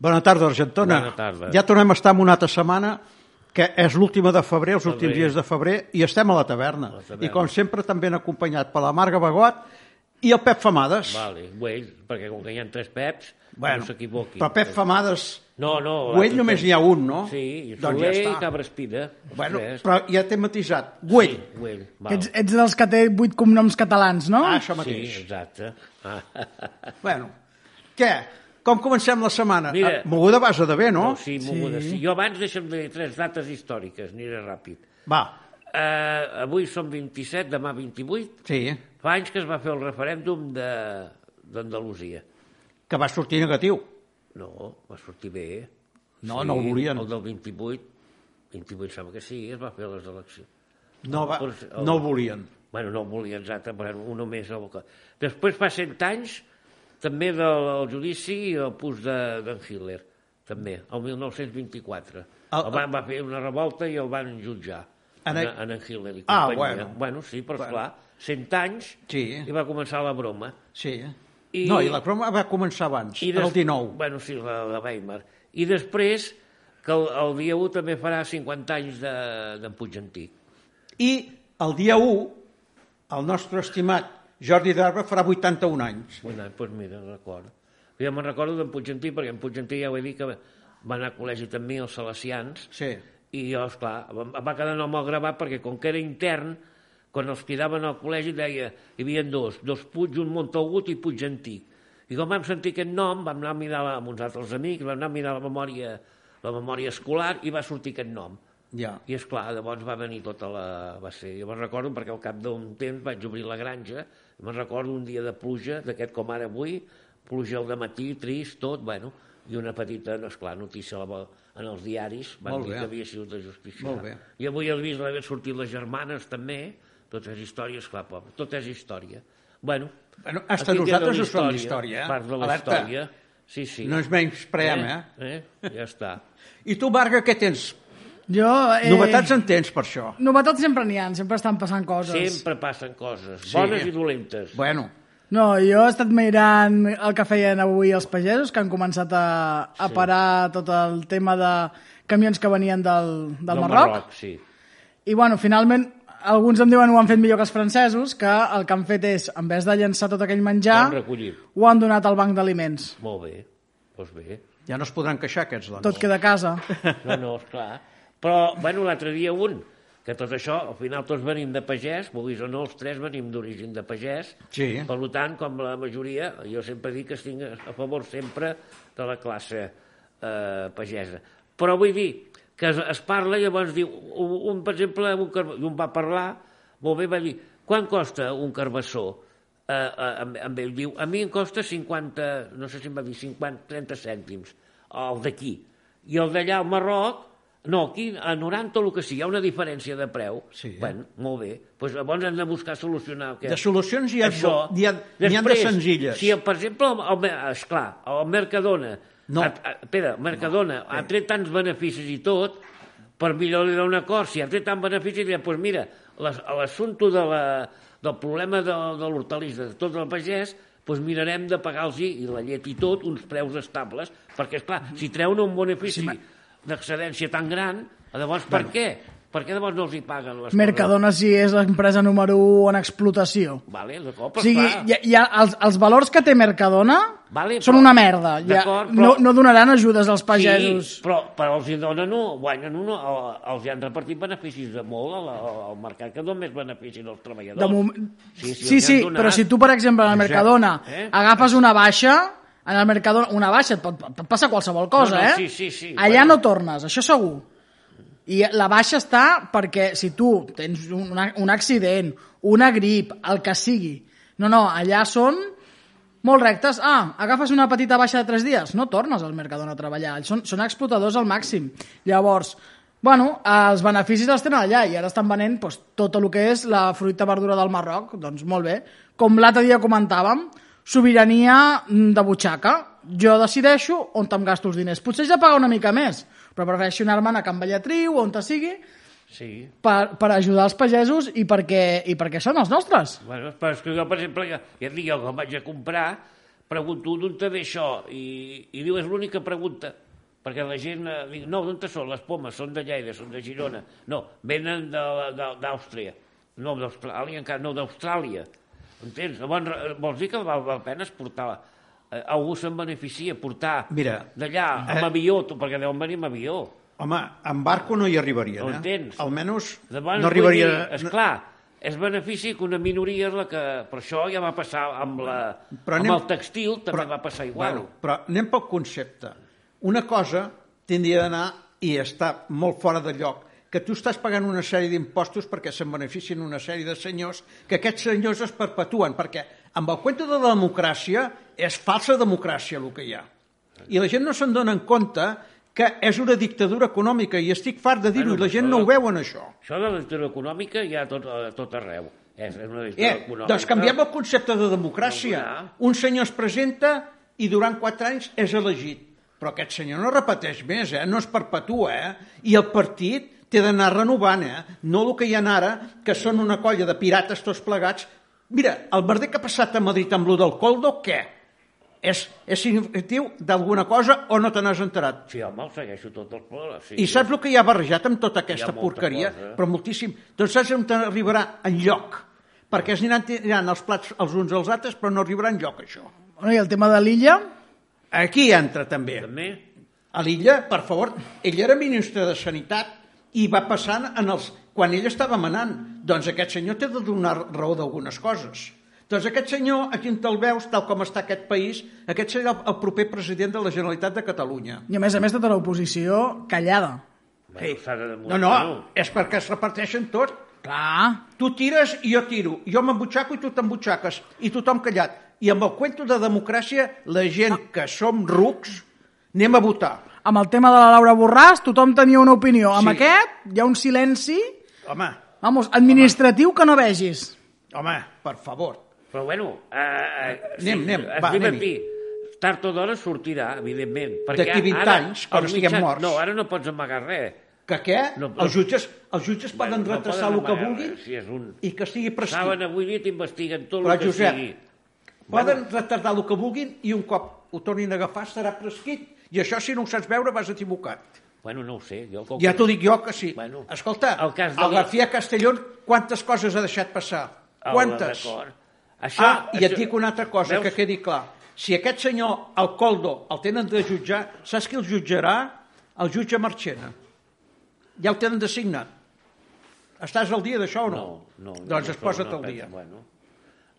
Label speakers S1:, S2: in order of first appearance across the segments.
S1: Bona tarda, Argentona.
S2: Bona tarda.
S1: Ja tornem a estar en una altra setmana, que és l'última de febrer, els últims
S2: Febrer.
S1: dies de febrer, i estem a la taverna.
S2: La taverna.
S1: I com sempre també han acompanyat per la Marga Bagot i el Pep Famades.
S2: Vale, Güell, perquè com que hi ha tres Peps,
S1: Bueno,
S2: no s'equivoqui.
S1: Però Pep Famades...
S2: No, no.
S1: Güell només hi ha un, no?
S2: Sí, i
S1: Doncs ja
S2: Soler i
S1: està.
S2: Cabrespina. els
S1: Bueno,
S2: tres.
S1: però ja t'he matisat. Güell.
S2: Sí, Güell, val.
S3: Ets, ets dels que té vuit cognoms catalans, no?
S1: Ah, això
S2: Sí,
S1: mateix.
S2: exacte. Ah.
S1: Bueno, què? Com comencem la setmana?
S2: Mira.
S1: Ah, Moguda base de bé, no?
S2: No, sí, moguda. Sí. Jo abans deixa'm dir tres dates històriques, aniré ràpid.
S1: Va,
S2: Uh, avui som 27, demà 28.
S1: sí.
S2: Fa anys que es va fer el referèndum de- d'Andalusia.
S1: Que va sortir negatiu.
S2: No, va sortir bé.
S1: No, no ho volien.
S2: El del 28, 28 sembla que sí, es va fer les eleccions.
S1: No, va,
S2: Però-
S1: no ho volien.
S2: Bueno, no volien exacte, però un només el que... Després fa 100 anys, també del el judici i el pus de- d'en de, Hitler, també, el 1924.
S1: El-
S2: El, el van, va fer una revolta i el van jutjar,
S1: En
S2: en,
S1: a-
S2: en, en en Hitler i
S1: Ah,
S2: companyia.
S1: bueno.
S2: bueno sí, però
S1: Bueno.
S2: bueno. esclar, 100 anys
S1: Sí.
S2: i va començar la broma.
S1: Sí. I...
S2: I-
S1: No, i la croma va començar abans,
S2: I
S1: des... el 19.
S2: Bueno, sí, la, la Weimar. I després, que el, el dia 1 també farà 50 anys de- d'en de, Puig Antic.
S1: I el dia 1, el nostre estimat Jordi Darba farà 81 anys.
S2: Un any, doncs mira, record. Jo me'n recordo d'en Puigentí, perquè en Puigentí ja ho he dit que va anar a col·legi també als Salesians,
S1: Sí.
S2: i jo, esclar, em em va quedar nom al gravat perquè com que era intern, quan els cridaven al col·legi deia, hi havia dos, dos Puig, un Montagut i Puig Antic. I quan vam sentir aquest nom, vam anar a mirar la- amb uns altres amics, vam anar a mirar la memòria, la memòria escolar i va sortir aquest nom.
S1: Ja.
S2: I és clar, llavors va venir tota la... Va ser... Jo me'n recordo perquè al cap d'un temps vaig obrir la granja, me'n recordo un dia de pluja, d'aquest com ara avui, pluja al matí, trist, tot, bueno, i una petita, no, esclar, notícia a la- en els diaris, van
S1: Molt
S2: dir
S1: bé.
S2: que havia sigut de justícia.
S1: Molt bé.
S2: I avui al vist l'havien sortit les germanes també, tot és història, esclar, pobre, tot és història. Bueno,
S1: Bueno, hasta
S2: aquí queda
S1: nosaltres
S2: la
S1: ho som d'història, eh?
S2: Part de la
S1: Alerta.
S2: història. Sí, sí.
S1: No ens menys preem, eh?
S2: eh? eh? Ja està.
S1: I tu, Marga, què tens?
S3: Jo... Eh,
S1: Novetats en tens, per això.
S3: Novetats sempre n'hi ha, sempre estan passant
S1: Doncs
S3: coses.
S2: Sempre passen coses, bones i dolentes.
S1: Bueno,
S3: No, jo he estat mirant el que feien avui els pagesos, que han començat a, a parar tot el tema de camions que venien del, del,
S2: Del
S3: Marroc.
S2: Marroc sí.
S3: I, bueno, finalment, alguns em diuen ho han fet millor que els francesos, que el que han fet és, en vez de llançar tot aquell menjar,
S2: Ho han recollit.
S3: ho han donat al banc d'aliments.
S2: Molt bé, doncs bé.
S1: ja no es podran queixar aquests, doncs.
S3: Tot queda a casa.
S2: No, no, esclar. Però, bueno, l'altre dia un, que tot això, al final tots venim de pagès, vulguis o no, els tres venim d'origen de pagès.
S1: Sí.
S2: Per tant, com la majoria, jo sempre dic que estic a favor sempre de la classe eh, pagesa. Però vull dir que es, es parla, llavors diu, un, un per exemple, un, carb... un va parlar, molt bé, va dir, quan costa un carbassó? Eh, eh, amb, amb ell diu, a mi em costa 50, no sé si em va dir 50, 30 cèntims, el d'aquí. I el d'allà al Marroc, no, aquí a 90 el que sí, hi ha una diferència de preu.
S1: Sí, eh?
S2: Bueno, molt bé. Pues llavors hem de buscar solucionar aquest,
S1: De solucions hi ha,
S2: això.
S1: n'hi ha, n'hi ha de
S2: Després,
S1: senzilles.
S2: Si, per exemple, el, el, Mer- esclar, el Mercadona,
S1: No.
S2: a, a, Pere, el Mercadona no. ha tret tants beneficis i tot, per millor li donar un acord, si ha tret tant benefici, dirà, doncs mira, l'as- l'assumpte de la, del problema de, de l'hortalista, de tot el pagès, doncs mirarem de pagar-los i la llet i tot uns preus estables, perquè, esclar, si treuen un benefici d'excedència tan gran, llavors per què? Per què llavors no els hi paguen les
S3: Mercadona sí és l'empresa número 1 en explotació.
S2: coses? Vale, d'acord,
S3: O
S2: però
S3: sigui,
S2: clar.
S3: hi ha, hi ha els, els valors que té Mercadona
S2: Vale,
S3: són
S2: però-
S3: una merda. Ja,
S2: D'acord,
S3: no,
S2: però-
S3: no donaran ajudes als pagesos.
S2: Sí, però, però els hi donen un, guanyen un, el- els hi han repartit beneficis de molt al, al mercat, que dona més beneficis als treballadors.
S3: De moment...
S2: Sí, sí, els
S3: sí,
S2: hi
S3: sí
S2: han donat.
S3: però si tu, per exemple, en el Mercadona
S2: Eh?
S3: agafes una baixa, en el Mercadona, una baixa, et pot, et pot passar qualsevol
S2: No,
S3: cosa,
S2: no,
S3: eh?
S2: sí, sí, sí,
S3: Allà
S2: bueno.
S3: no tornes, això segur. I la baixa està perquè si tu tens un, un accident, una grip, el que sigui... No, no, allà són molt rectes. Ah, agafes una petita baixa de 3 dies, no tornes al Mercadona a treballar. Ells Són, són explotadors al màxim. Llavors, bueno, els beneficis els tenen allà i ara estan venent doncs, tot el que és la fruita verdura del Marroc, doncs molt bé. Com l'altre dia comentàvem, sobirania mm, de butxaca. Jo decideixo on em gasto els diners. Potser ja pagar una mica més, però prefereixo anar-me'n a Can Bellatriu o on te sigui
S2: Sí.
S3: per, per ajudar els pagesos i perquè, i perquè són els nostres.
S2: Bueno, però és que jo, per exemple, ja, ja et dic, jo quan vaig a comprar, pregunto d'on te ve això, i, i diu, és l'única pregunta, perquè la gent eh, diu, no, d'on te són les pomes? Són de Lleida, són de Girona. No, venen de la- de- d'Àustria. No, d'Austràlia encara, no, d'Austràlia. Entens? Llavors, eh, vols dir que val, val la pena exportar? Eh, algú se'n beneficia, portar
S1: Mira,
S2: d'allà
S1: eh,
S2: amb avió, tu, perquè deuen venir amb avió.
S1: Home, en barco no hi arribaria,
S2: Ho
S1: eh?
S2: entens.
S1: Almenys
S2: Llavors,
S1: no arribaria...
S2: És clar, és benefici que una minoria és la que... Per això ja va passar amb, la,
S1: Però
S2: amb el textil, també va passar igual.
S1: Bueno, però anem pel concepte. Una cosa tindria d'anar i està molt fora de lloc, que tu estàs pagant una sèrie d'impostos perquè se'n beneficien una sèrie de senyors, que aquests senyors es perpetuen, perquè amb el cuento de la democràcia és falsa democràcia el que hi ha. I la gent no se'n dona en compte que és una dictadura econòmica i estic fart de dir-ho
S2: Bueno,
S1: i la gent no
S2: però-
S1: ho veuen això.
S2: Això de la lectura econòmica hi ha a tot, a tot arreu. És, és una lectura
S1: Eh,
S2: econòmica.
S1: doncs canviem el concepte de democràcia.
S2: Clar.
S1: Un senyor es presenta i durant quatre anys és elegit. Però aquest senyor no repeteix més, eh? no es perpetua. Eh? I el partit té d'anar renovant, eh? no el que hi ha ara, que són una colla de pirates tots plegats. Mira, el merder que ha passat a Madrid amb lo del Coldo, què? És, és significatiu d'alguna cosa o no te n'has enterat?
S2: Sí, home, ho segueixo tot el plor. Sí,
S1: I saps el que hi ha barrejat amb tota
S2: Hi
S1: aquesta
S2: ha molta
S1: porqueria?
S2: cosa, eh?
S1: Però moltíssim. Doncs saps on arribarà? En lloc. Perquè es aniran tirant els plats els uns als altres, però no arribarà en lloc, això.
S3: Bueno, I el tema de l'illa,
S1: Aquí entra també.
S2: També?
S1: A l'illa, per favor, ell era ministre de Sanitat i va passant en els... quan ell estava manant. Doncs aquest senyor té de donar raó d'algunes coses. Doncs aquest senyor, aquí on te'l veus, tal com està aquest país, aquest serà el- el proper president de la Generalitat de Catalunya.
S3: i a més a més tota l'oposició callada.
S1: Ei,
S2: Bueno, s'ha de
S1: no,
S2: demostrar,
S1: no, és perquè es reparteixen tot.
S3: Clar,
S1: Tu tires i jo tiro, jo m'embutxaco i tu t'embutxaques, i tothom callat. I amb el cuento de democràcia, la gent que som rucs, anem a votar.
S3: amb el tema de la Laura Borràs tothom tenia una opinió. Amb
S1: Sí.
S3: aquest hi ha un silenci
S1: Home,
S3: vamos, administratiu que no vegis.
S1: home, per favor.
S2: Però bueno... Eh, eh,
S1: Anem, anem,
S2: es
S1: va,
S2: diu
S1: anem-hi.
S2: aquí, Tard o d'hora sortirà, evidentment. perquè
S1: D'aquí 20
S2: ara
S1: anys, quan
S2: els
S1: estiguem
S2: mitjans-
S1: morts.
S2: No, ara no pots amagar res.
S1: Que què?
S2: No,
S1: No,
S2: però-
S1: els jutges, els jutges poden
S2: Bueno, no
S1: retrasar el que
S2: amagar
S1: vulguin
S2: res, Si és un...
S1: i que estigui prescrit.
S2: Saben avui nit, investiguen tot
S1: Però,
S2: el que
S1: Josep,
S2: sigui.
S1: Poden retardar el que vulguin i un cop ho tornin a agafar estarà prescrit. I això, si no ho saps veure, vas equivocat.
S2: Bueno, no ho sé. Jo, com
S1: Ja
S2: que-
S1: t'ho dic jo que sí.
S2: Bueno,
S1: Escolta,
S2: el
S1: el,
S2: cas de-
S1: García Castellón quantes coses ha deixat passar?
S2: Ah,
S1: Quantes?
S2: d'acord. Això,
S1: Ah, i et
S2: això-
S1: dic una altra cosa
S2: Veus?
S1: que quedi clar. Si aquest senyor, el Coldo, el tenen de jutjar, saps qui el jutjarà? El jutge Marchena. Ja el tenen designat. Estàs al dia d'això o no?
S2: No, no. no
S1: doncs
S2: no,
S1: es posa't
S2: no,
S1: al
S2: penso,
S1: dia.
S2: Bueno,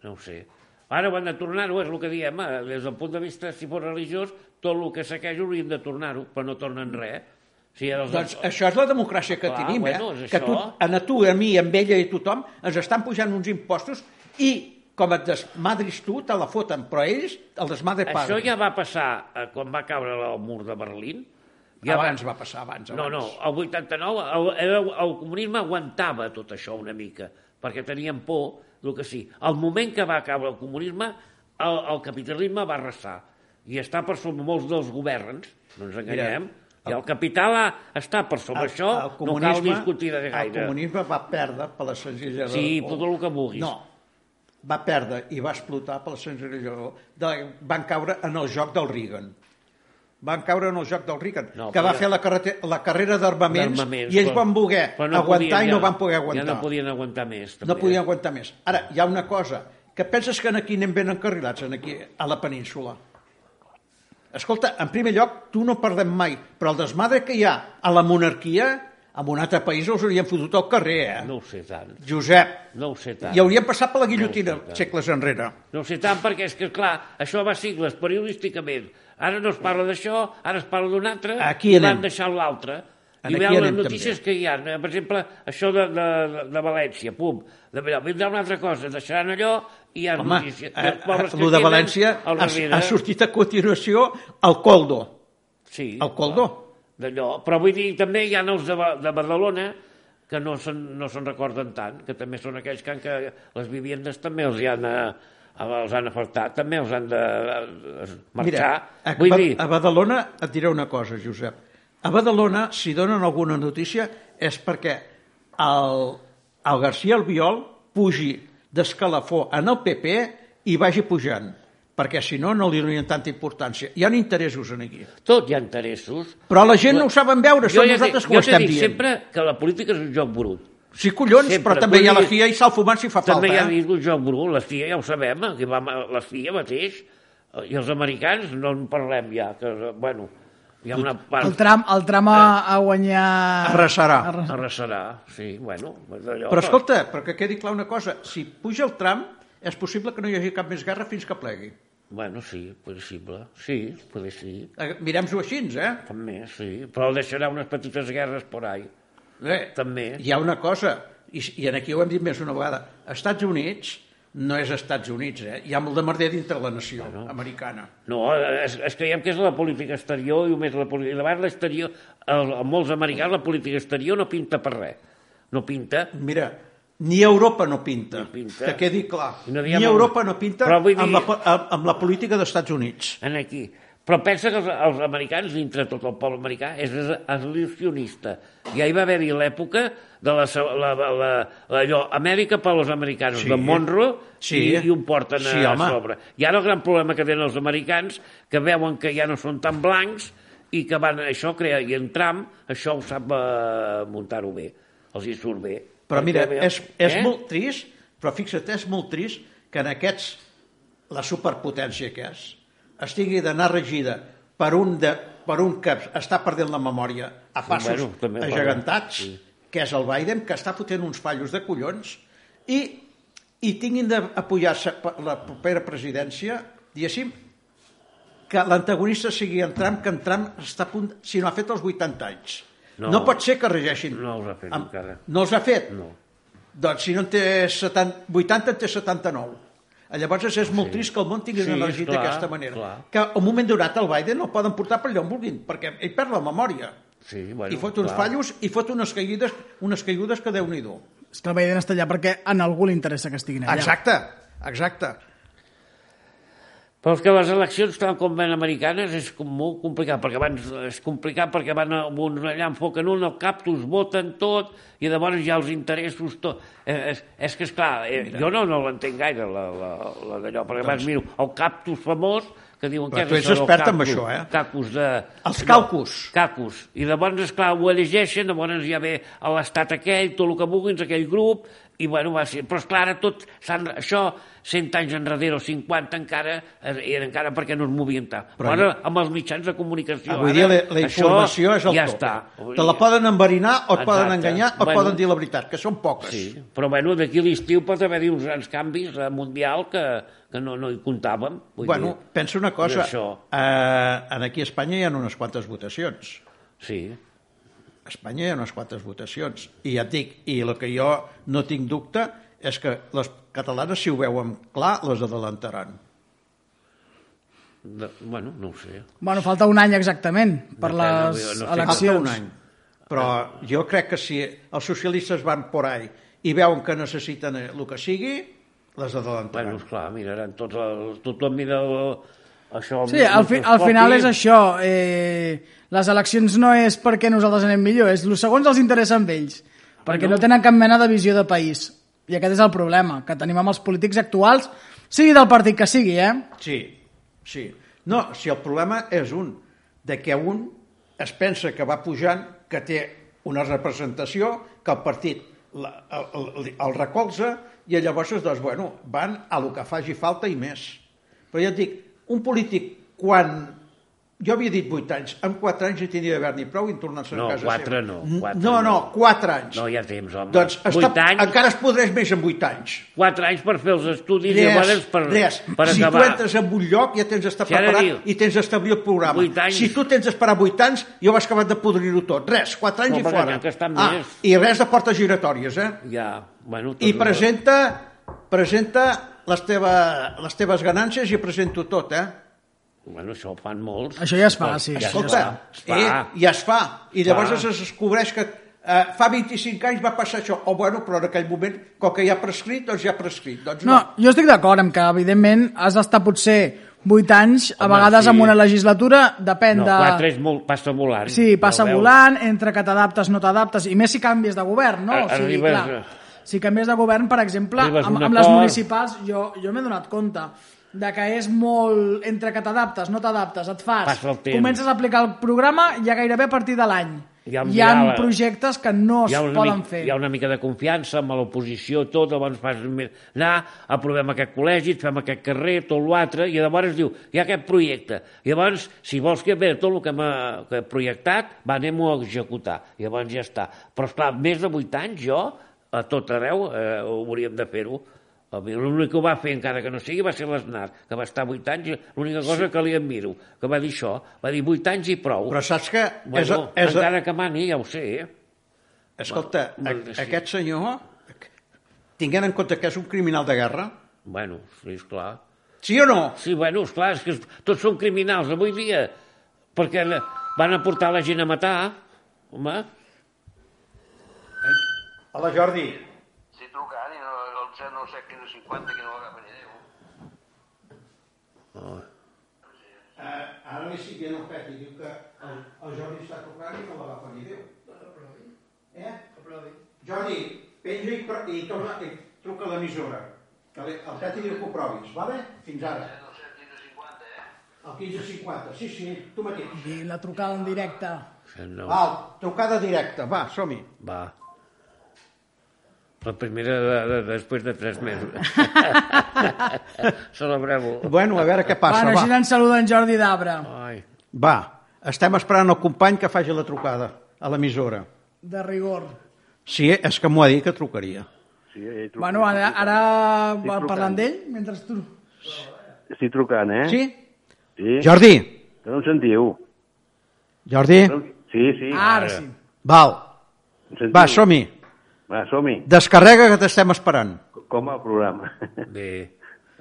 S2: no ho sé. Ara ho han de tornar-ho, és el que diem. eh? Des del punt de vista, si fos religiós, tot el que saqueja haurien de tornar-ho, però no tornen res. eh. Si els...
S1: Doncs això és la democràcia que
S2: Clar,
S1: tenim,
S2: bueno,
S1: eh?
S2: és
S1: Que tu,
S2: això.
S1: a na- tu, a mi, a ella i a tothom ens estan pujant uns impostos i com et desmadris tu, te la foten, però ells el desmadre
S2: Això
S1: paguen.
S2: ja va passar eh, quan va caure el mur de Berlín.
S1: Ja abans va passar, abans,
S2: No,
S1: abans.
S2: no, el 89 el, el, el comunisme aguantava tot això una mica, perquè tenien por, el que sí. Al moment que va acabar el comunisme, el, el capitalisme va arrasar. I està per sobre molts dels governs, no ens enganyem. I el capital ha, està per sobre
S1: El-
S2: això,
S1: el
S2: no cal
S1: comunisme-
S2: discutir de gaire.
S1: El comunisme va perdre per la senzilla
S2: Sí, per tot el que vulguis.
S1: No, va perdre i va explotar per la senzilla raó de... Van caure en el joc del Reagan. Van caure en el joc del Reagan,
S2: No,
S1: no, que va
S2: però-
S1: fer la, carrete... la carrera d'armaments
S2: D'armaments,
S1: i ells
S2: però-
S1: van voler
S2: però
S1: aguantar i
S2: podien
S1: no
S2: ja-
S1: van poder aguantar.
S2: Ja no podien aguantar més. També.
S1: No podien aguantar més. Ara, hi ha una cosa, que penses que aquí anem ben encarrilats, en aquí, a la península. Escolta, en primer lloc, tu no perdem mai, però el desmadre que hi ha a la monarquia, en un altre país els haurien fotut al carrer, eh?
S2: No ho sé tant,
S1: Josep,
S2: no ho sé tant.
S1: hi haurien passat per la guillotina
S2: No, no, no.
S1: segles enrere.
S2: No ho sé tant perquè és que, clar, això va a sigles periodísticament. Ara no es parla d'això, ara es parla d'un altre,
S1: Aquí
S2: i van
S1: anem.
S2: deixant l'altre. I
S1: Aquí
S2: veuen les
S1: anem,
S2: notícies que hi ha. eh, Per exemple, això de, de, de València, pum. De, allò, vindrà una altra cosa, deixaran allò i hi ha
S1: Home,
S2: notícies.
S1: eh,
S2: Els pobles que
S1: el de
S2: queden
S1: València
S2: al
S1: ha,
S2: darrere.
S1: ha sortit a continuació el Coldo.
S2: Sí,
S1: El Coldo.
S2: clar, D'allò. Però vull dir, també hi ha els de, Ba- de Badalona que no se'n no se'n recorden tant, que també són aquells que, han, que les vivendes també els hi han, eh, els han afectat, també els han de eh, marxar.
S1: a,
S2: vull
S1: Ba-
S2: dir,
S1: a Badalona et diré una cosa, Josep. A Badalona, si donen alguna notícia, és perquè el, el García Albiol pugi d'escalafó en el PP i vagi pujant. perquè si no, no li donien tanta importància. Hi ha interessos en aquí.
S2: Tot hi ha interessos.
S1: Però la gent no ho saben veure,
S2: Jo
S1: són
S2: ja dic-
S1: nosaltres que ho
S2: jo t'he
S1: estem
S2: dit
S1: dient.
S2: sempre que la política és un joc brut.
S1: Sí, collons,
S2: sempre,
S1: però també hi ha la
S2: vull dir-
S1: FIA i s'ha fumant si fa falta.
S2: També hi ha
S1: eh?
S2: hagut un joc brut, la FIA ja ho sabem, eh, que va, la FIA mateix, eh, i els americans no en parlem ja, que, eh, bueno, hi ha una
S3: El
S2: part...
S3: tram, el tram a, a guanyar...
S1: Arrasarà.
S3: Arra-
S2: Arrasarà, sí, bueno... Allò,
S1: Però escolta, perquè quedi clar una cosa, si puja el tram, és possible que no hi hagi cap més guerra fins que plegui.
S2: Bueno, sí, possible, sí, poder sí,
S1: Eh, Mirem-s'ho així, eh?
S2: també, sí, però deixarà unes petites guerres por ahí,
S1: Bé,
S2: també.
S1: hi ha una cosa, i, i en aquí ho hem dit més una vegada, Estats Units no és Estats Units, eh? Hi ha molt de merder dintre la nació americana.
S2: No, es, es creiem que és la política exterior i només la política... Davant l'exterior, el- a molts americans la política exterior no pinta per res. No pinta.
S1: Mira, ni Europa no pinta,
S2: pinta.
S1: que quedi clar.
S2: I no
S1: ni
S2: diem-
S1: Europa no pinta
S2: Però vull
S1: amb,
S2: dir-
S1: la, po- amb- amb la política d'Estats Units.
S2: en aquí. Però pensa que els, els americans, dintre tot el poble americà, és es- evolucionista. Ja hi va haver-hi l'època de la, se- la, la, la, allò, Amèrica per als americans,
S1: Sí.
S2: sí. de Monroe,
S1: Sí.
S2: i, i ho porten a,
S1: Sí,
S2: a
S1: home.
S2: sobre. I ara el gran problema que tenen els americans, que veuen que ja no són tan blancs, i que van, això crea, i en Trump, això ho sap eh, muntar-ho bé, els hi surt bé.
S1: Però mira,
S2: Perquè, Eh?
S1: és, és molt trist, però fixa't, és molt trist que en aquests, la superpotència que és, es tingui d'anar regida per un, de, per un que està perdent la memòria a passos
S2: bueno, també ho parlem,
S1: agegantats,
S2: sí.
S1: que és el Biden, que està fotent uns fallos de collons, i, i tinguin d'apujar-se per la propera presidència, diguéssim, que l'antagonista sigui en Trump, que en Trump està a punt, si no ha fet els 80 anys. No,
S2: No.
S1: no pot ser que regeixin.
S2: No els ha fet encara.
S1: No els ha fet?
S2: No.
S1: Doncs si no en té 70, 80, en té 79. Llavors és molt sí. trist que el món tingui
S2: Sí,
S1: sí, una energia
S2: clar,
S1: d'aquesta manera.
S2: clar.
S1: Que a un moment donat el Biden el poden portar per allà on vulguin, perquè ell perd la memòria.
S2: Sí,
S1: Bueno,
S2: bueno,
S1: I fot uns
S2: clar.
S1: fallos i fot unes caigudes, unes caigudes que déu-n'hi-do.
S3: És que el Biden està allà perquè en algú li interessa que estiguin allà.
S1: Exacte, exacte.
S2: Però és que les eleccions, tal com van americanes, és com molt complicat, perquè abans és complicat perquè van a uns allà enfoquen un al cap, t'us voten tot, i llavors ja els interessos tot. Eh, És, és que, esclar, eh, jo no, no l'entenc gaire, la, la, la d'allò, perquè abans miro el cactus famós, que diuen
S1: Però
S2: que
S1: Doncs- tu
S2: és
S1: ets
S2: això del
S1: expert en
S2: cactus,
S1: això, eh?
S2: Cactus de...
S1: Els caucus.
S2: Cacus. I llavors, esclar, ho elegeixen, llavors ja ve a l'estat aquell, tot el que vulguis, aquell grup, i bueno, va ser... Però esclar, ara tot, s'han- això, 100 anys enrere o 50 encara, eh, era encara perquè no es movien tant.
S1: Però
S2: Però ara, amb els mitjans de comunicació...
S1: Avui
S2: ara,
S1: dia la, la informació és el
S2: ja
S1: top.
S2: Està.
S1: Te la poden enverinar o et poden
S2: Exacte.
S1: enganyar o et
S2: Bueno.
S1: poden dir la veritat, que són poques.
S2: Sí, però bueno, d'aquí a l'estiu pot haver-hi uns grans canvis eh, mundial que, que no, no hi comptàvem. Vull
S1: Bueno,
S2: dir,
S1: pensa una cosa,
S2: això.
S1: eh, en aquí a Espanya hi ha unes quantes votacions.
S2: sí.
S1: A Espanya hi ha unes quantes votacions. I ja et dic, i el que jo no tinc dubte és que les catalanes, si ho veuen clar, les adelantaran.
S2: De, bueno, no ho sé.
S3: Bueno, falta un any exactament per
S2: Depèn,
S3: les
S2: no sé.
S1: Falta
S3: eleccions.
S1: un any. Però jo crec que si els socialistes van por ahí i veuen que necessiten el que sigui, les
S2: Bueno,
S1: adelantaran.
S2: esclar, miraran tots els... Tothom mira el, això...
S3: Sí, al, fi, al final és això. Eh, les eleccions no és perquè nosaltres anem millor, és el segons els interessa amb ells. Perquè no tenen cap mena de visió de país. I aquest és el problema que tenim amb els polítics actuals, sigui del partit que sigui, eh?
S1: Sí, sí. No, si el problema és un, de que un es pensa que va pujant, que té una representació, que el partit la, el, el, el recolza, i llavors, doncs, bueno, van a lo que faci falta i més. Però ja et dic, un polític, quan... Jo havia dit 8 anys, en 4 anys ja tindria d'haver-n'hi prou i en tornar-se
S2: No,
S1: a casa
S2: quatre
S1: seva.
S2: no,
S1: N-
S2: quatre
S1: no, no,
S2: no.
S1: 4 anys.
S2: No hi ha temps, home.
S1: doncs està,
S2: Vuit anys, encara...
S1: encara es podreix més en 8 anys.
S2: quatre anys per fer els estudis i
S1: Res,
S2: llavors per,
S1: res.
S2: per
S1: si
S2: acabar.
S1: tu entres en un lloc ja tens d'estar
S2: Si ara
S1: preparat
S2: diu-
S1: i tens d'establir el programa.
S2: Vuit anys.
S1: Si tu tens d'esperar 8 anys, jo vas acabat de podrir-ho tot. Res, 4 anys
S2: No,
S1: i
S2: perquè
S1: fora.
S2: n'hi ha que estan
S1: ah,
S2: més.
S1: I res de portes giratòries, eh?
S2: Ja, bueno, tot
S1: I
S2: ho-
S1: presenta, presenta les, teva, les teves ganàncies i presento tot, eh?
S2: Bueno, això ho fan molts.
S3: Això ja es fa, sí.
S2: Ja
S1: Escolta,
S2: es fa.
S1: eh, ja es fa. I llavors
S2: Clar.
S1: es descobreix que eh, fa 25 anys va passar això. Oh, bueno, però en aquell moment, com que ja ha prescrit, doncs ja ha prescrit. Doncs
S3: No, jo estic d'acord amb que, evidentment, has d'estar potser 8 anys, a
S2: Home,
S3: vegades
S2: sí.
S3: amb una legislatura, depèn
S2: No,
S3: de...
S2: quatre és molt, passa volant.
S3: Sí, passa
S2: Ja ho veus.
S3: volant, entre que t'adaptes, no t'adaptes, i més si canvies de govern, no?
S2: A-
S3: O sigui,
S2: arribes-
S3: clar, si canvies de govern, per exemple,
S2: Arribes a
S3: amb,
S2: un
S3: amb les
S2: acord.
S3: municipals, jo, jo m'he donat compte de que és molt entre que t'adaptes, no t'adaptes, et fas,
S2: Passa el temps.
S3: comences a aplicar el programa ja gairebé a partir de l'any.
S2: Hi ha un
S3: Hi ha
S2: diàleg.
S3: projectes que no es
S2: hi ha, una
S3: poden
S2: mica,
S3: fer.
S2: hi ha una mica de confiança amb l'oposició, tot, llavors fas més- anar, aprovem aquest col·legi, et fem aquest carrer, tot l'altre, i llavors diu, hi ha aquest projecte. Llavors, si vols que bé, tot el que hem eh, que he projectat, va, anem-ho a executar. Llavors ja està. Però, esclar, més de vuit anys, jo, a tot arreu, eh, hauríem de fer-ho. A mi L'únic que ho va fer, encara que no sigui, va ser l'Aznar, que va estar vuit anys, i l'única cosa que li admiro, que va dir això, va dir vuit anys i prou.
S1: Però saps que... és,
S2: bueno,
S1: és,
S2: encara que mani, ja ho sé, eh?
S1: escolta,
S2: Bueno, molt
S1: a-
S2: bé, sí.
S1: aquest senyor, tinguent en compte que és un criminal de guerra,
S2: Bueno, sí, esclar.
S1: sí o no?
S2: Sí, bueno, esclar, és que tots són criminals avui dia, perquè la- van a portar la gent a matar, home.
S1: Hola, Jordi.
S4: Estic trucant i no, el 097 15 50 que no l'agafa ni Déu.
S1: Eh, ara li estic dient al Peti, diu que el, el Jordi està tocant i no l'agafa ni Déu. Eh? Jordi, penja i, pro- i, torna, i truca a l'emissora. Que li- el Peti diu que ho provis, vale? Fins ara.
S4: 097 15 50, eh?
S1: El 15.50, sí, sí, tu mateix.
S3: I la trucada en directe.
S2: No,
S1: Val, trucada directa, va, som-hi.
S2: va. La primera de, de, després de tres mesos. Celebrem-ho.
S1: Bueno, a veure què passa,
S3: bueno, així
S1: va.
S3: ens saluda en Jordi d'Abra.
S2: Ai,
S1: Va, estem esperant el company que faci la trucada a l'emissora.
S3: De rigor.
S1: Sí, és que m'ho ha dit que trucaria.
S4: Sí, he trucat.
S3: Bueno, ara, ara
S4: trucant.
S3: parlant d'ell, mentre tu...
S4: Estic trucant, eh?
S1: Sí?
S4: sí.
S1: Jordi,
S4: Que no em sentiu.
S1: Jordi,
S4: Sí, sí.
S3: Ah, Ara sí.
S1: val,
S4: Em sentiu?
S1: va, som-hi.
S4: Va, som-hi.
S1: Descarrega que t'estem esperant.
S4: Com va el programa?
S2: bé.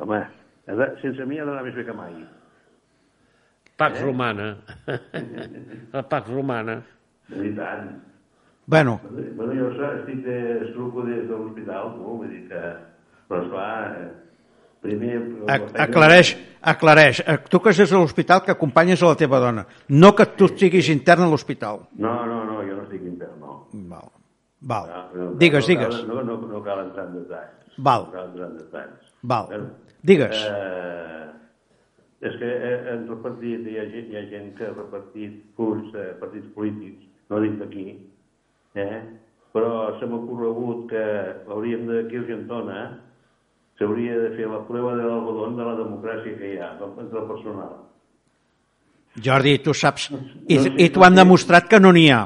S4: Home, ha de, sense mi ha d'anar més bé que mai.
S1: Eh?
S2: Pax romana. La Pax romana.
S4: I tant.
S1: Bueno,
S4: Bueno, jo sa- estic de estruco des de l'hospital, no? Vull dir que... Però esclar, eh, primer...
S1: ac- aclareix, aclareix. Eh, Tu que és a l'hospital que acompanyes a la teva dona, no que tu estiguis intern a l'hospital.
S4: No, no, no, jo no estic intern, no.
S1: Val, val.
S4: Ah, No, no,
S1: Digues,
S4: no cal-
S1: digues.
S4: No, no, no cal entrar en detalls.
S1: Val.
S4: No cal entrar en detalls.
S1: Val,
S4: Bueno,
S1: digues.
S4: Eh, és que eh, han repartit, hi ha, gent, hi ha gent que ha repartit furs eh, partits polítics, no dic d'aquí, eh? però se m'ha corregut que l'hauríem de aquí a Argentona s'hauria de fer la prova de l'algodon de la democràcia que hi ha del- entre el personal.
S1: Jordi, tu saps, i,
S4: No sé,
S1: i t'ho han
S4: no sé.
S1: demostrat que no n'hi ha.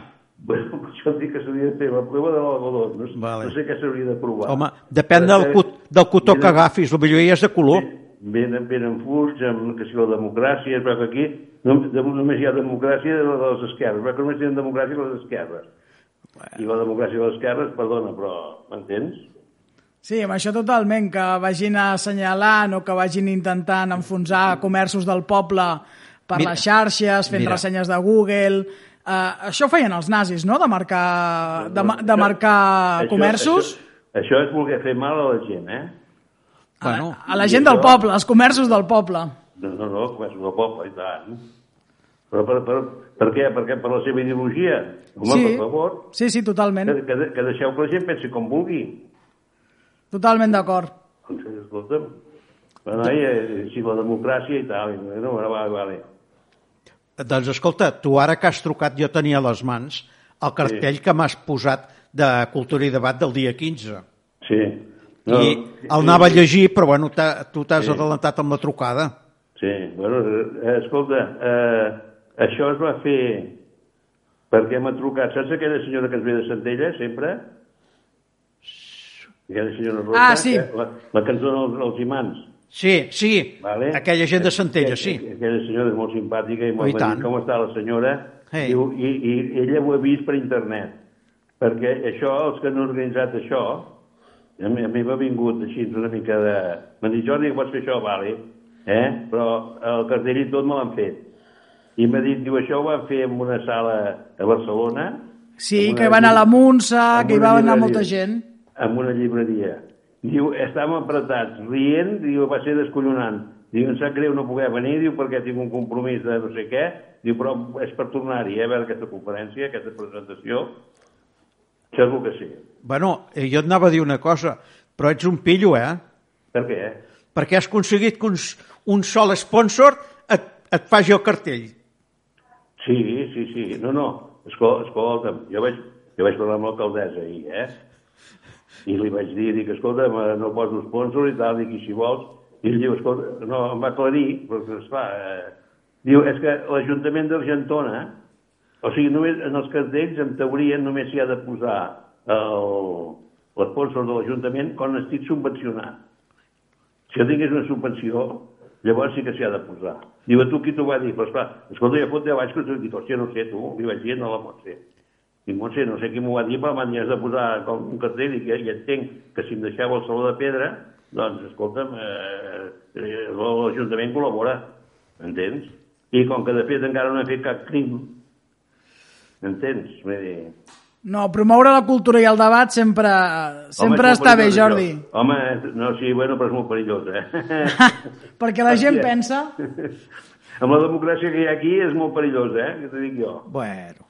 S4: Bueno, jo dic que s'hauria de fer la prova de l'algodon, no, sé-
S1: Vale.
S4: no sé què s'hauria de provar.
S1: Home, depèn del,
S4: Perquè
S1: cot, del cotó que
S4: venen-
S1: agafis, potser ja és de color.
S3: Oh.
S4: Venen, venen furs, amb que si la democràcia, però que aquí no, de- només hi ha democràcia de la de les esquerres, però que només hi ha democràcia de les esquerres. I la democràcia de les esquerres, perdona, però m'entens?
S3: Sí, amb això totalment, que vagin assenyalant o que vagin intentant enfonsar comerços del poble per
S1: Mira,
S3: mira, les xarxes, fent
S1: mira.
S3: mira. ressenyes de Google... Uh, això ho feien els nazis, no?, de marcar, de, ma- de marcar comerços
S4: Això, això és voler fer mal a la gent, eh?
S1: Bueno,
S3: a la gent del poble, als comerços del poble.
S4: No, no, no, comerços del poble, i tant. Però per, per, per què? Per, què? per la seva ideologia? Home, per favor,
S3: sí, sí, totalment,
S4: que, que, de- que deixeu que la gent pensi com vulgui.
S3: totalment d'acord.
S4: Doncs, escolta'm, bueno, eh, si la democràcia i tal, i no, vale, vale.
S1: doncs escolta, tu ara que has trucat, jo tenia a les mans el cartell que m'has posat de Cultura i Debat del dia 15.
S4: Sí.
S1: I el anava a llegir, però bueno, t'ha- tu t'has adelantat amb la trucada.
S4: Sí, bueno, eh, escolta, eh, això es va fer perquè m'ha trucat. Saps aquella senyora que ens ve de Centella, sempre? Aquella senyora rosa,
S3: Ah, sí.
S4: que- la, la que ens dona els, els imants.
S1: Sí, sí,
S4: Vale. Eh,
S1: aquella gent de Centella, sí.
S4: Aquella senyora és molt simpàtica i molt
S1: I tant.
S4: dit com està la senyora.
S1: Ei.
S4: Diu, i, I ella ho ha vist per internet. Perquè això, els que han organitzat això, a mi, a mi m'ha vingut així una mica de... M'han dit, Jordi, pots fer això, vale. Eh? Però el cartell i tot me l'han fet. I m'ha dit, diu, això ho van fer en una sala a Barcelona.
S3: Sí,
S4: en
S3: que hi
S4: una
S3: va anar la Munsa,
S4: amb
S3: que hi
S4: una
S3: va anar
S4: llibreria.
S3: molta gent.
S4: en una llibreria. Diu, estàvem apretats, rient, diu, va ser descollonant. Diu, em sap greu no poder venir, diu, perquè tinc un compromís de no sé què. Diu, però és per tornar-hi, eh, a veure aquesta conferència, aquesta presentació. Això és el que sé.
S1: Bueno, eh, jo et anava a dir una cosa, però ets un pillo, eh?
S4: Per què?
S1: perquè has aconseguit que uns, un sol sponsor et, et faci el cartell.
S4: Sí, sí, sí. No, no. Escolta, escolta'm, jo vaig, jo vaig parlar amb l'alcaldessa ahir, eh? I li vaig dir, dic, escolta'm, eh, no poso sponsor i tal, dic, i si vols... I ell diu, escolta, no, em va aclarir, perquè, esclar, eh, diu, és que l'Ajuntament d'Argentona, o sigui, només en els cartells, en teoria, només s'hi ha de posar el- l'esponsor de l'Ajuntament quan estic subvencionat. Si jo tingués una subvenció, llavors sí que s'hi ha de posar. Diu, a tu qui t'ho va dir? Però esclar, escolta, ja fot 10 anys que t'ho he dit, hòstia, no sé, tu, li vaig dir, no la Montse. Dic, Montse, no sé qui m'ho va dir, però m'han de posar com un cartell i ja, ja entenc que si em deixava el saló de pedra, doncs, escolta'm, eh, eh, l'Ajuntament col·labora, entens? I com que de fet encara no he fet cap crim, entens? Vull dir,
S3: No, promoure la cultura i el debat sempre, sempre
S4: home, és molt
S3: està bé,
S4: perillós,
S3: Jordi.
S4: això. Home, no, sí, bueno, però és molt perillós, eh?
S3: Perquè la gent
S4: Hòstia.
S3: pensa...
S4: Amb la democràcia que hi ha aquí és molt perillós, eh? Que t'ho dic jo.
S1: Bueno.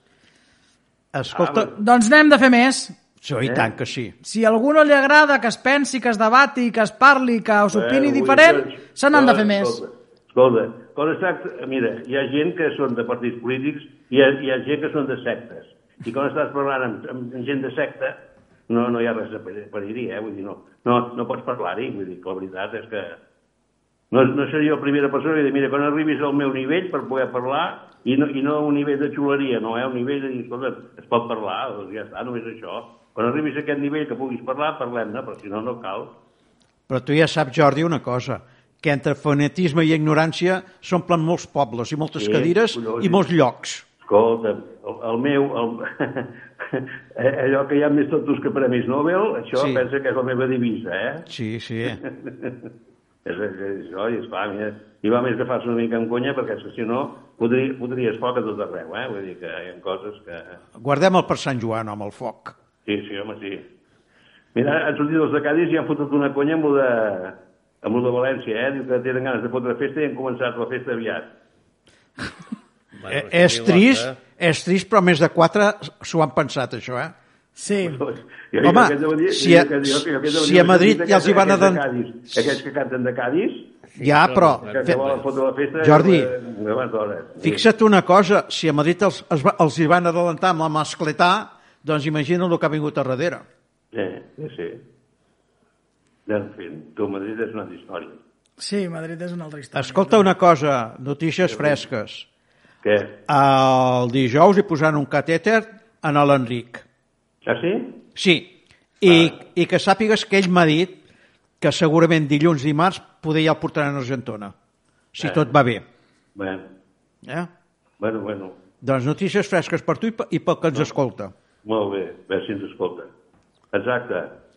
S1: Escolta, ah,
S3: Doncs n'hem de fer més.
S1: sí,
S4: Eh?
S1: i tant que sí.
S3: Si a algú no li agrada que es pensi, que es debati, que es parli, que s'opini
S4: Eh, vull
S3: diferent,
S4: dir,
S3: se n'han de
S4: escolta,
S3: fer més.
S4: Escolta, quan es tracta... Mira, hi ha gent que són de partits polítics i hi ha, hi ha gent que són de sectes. I quan estàs parlant amb, amb, amb gent de secta, no, no hi ha res a per, per dir, eh? Vull dir, no, no, no pots parlar-hi. Vull dir, que la veritat és que... No, no seré jo la primera persona que dir, mira, quan arribis al meu nivell per poder parlar, i no, i no a un nivell de xuleria, no, eh? Un nivell de dir, escolta, es pot parlar, doncs ja està, només això. Quan arribis a aquest nivell que puguis parlar, parlem-ne, però si no, no cal.
S1: Però tu ja saps, Jordi, una cosa, que entre fanatisme i ignorància s'omplen molts pobles i moltes
S4: Sí,
S1: cadires
S4: collons.
S1: i molts llocs.
S4: Escolta, el, el meu... El, eh, allò que hi ha més tontos que premis Nobel, això
S1: Sí.
S4: sí. pensa que és la meva divisa, eh?
S1: Sí, sí.
S4: És, és, és això, i esclar, mira, i va més que fas una mica en conya, perquè és que si no, podria, podries foc a tot arreu, eh? Vull dir que hi ha coses que...
S1: Guardem el per Sant Joan, home, el foc.
S4: Sí, sí, home, sí. Mira, han sortit els de Cádiz i han fotut una conya amb lo de, amb lo de València, eh? Diu que tenen ganes de fotre festa i han començat la festa aviat.
S2: Bueno,
S1: Eh,
S2: això
S1: és
S2: diu l'altre.
S1: trist, és trist, però més de quatre s'ho han pensat, això, eh?
S3: Sí.
S4: Jo,
S1: Home,
S4: aquest deuen dir-
S1: si a-
S4: jo- jo- jo aquest deuen
S1: si
S4: dir
S1: a Madrid
S4: aquests-
S1: ja els hi van
S4: aquests de
S1: aden-
S4: Cádiz, Aquests que canten de Cádiz,
S1: Ja, Ah, però...
S4: que
S1: fe-
S4: se volen fotre la festa...
S1: Jordi,
S4: eh, abans d'hora.
S1: Fixa't una cosa, si a Madrid els, els, va- els hi van adelantar amb la mascletà, doncs imagina el que ha vingut a darrere.
S4: Sí, sí, sí. En fi, tu, Madrid és una història.
S3: Sí, Madrid és una altra història.
S1: Escolta una cosa, notícies fresques.
S4: Què?
S1: El dijous hi posaran un catèter en l'Enric.
S4: Ah, sí?
S1: Sí, i, i que sàpigues que ell m'ha dit que segurament dilluns, dimarts, poder ja el portaran a Argentona, si
S4: Ah.
S1: tot va bé.
S4: Bé,
S1: Eh?
S4: bueno, bueno,
S1: Doncs notícies fresques per tu i pe- i pel que ens escolta.
S4: molt bé, a veure si ens escolta. Exacte.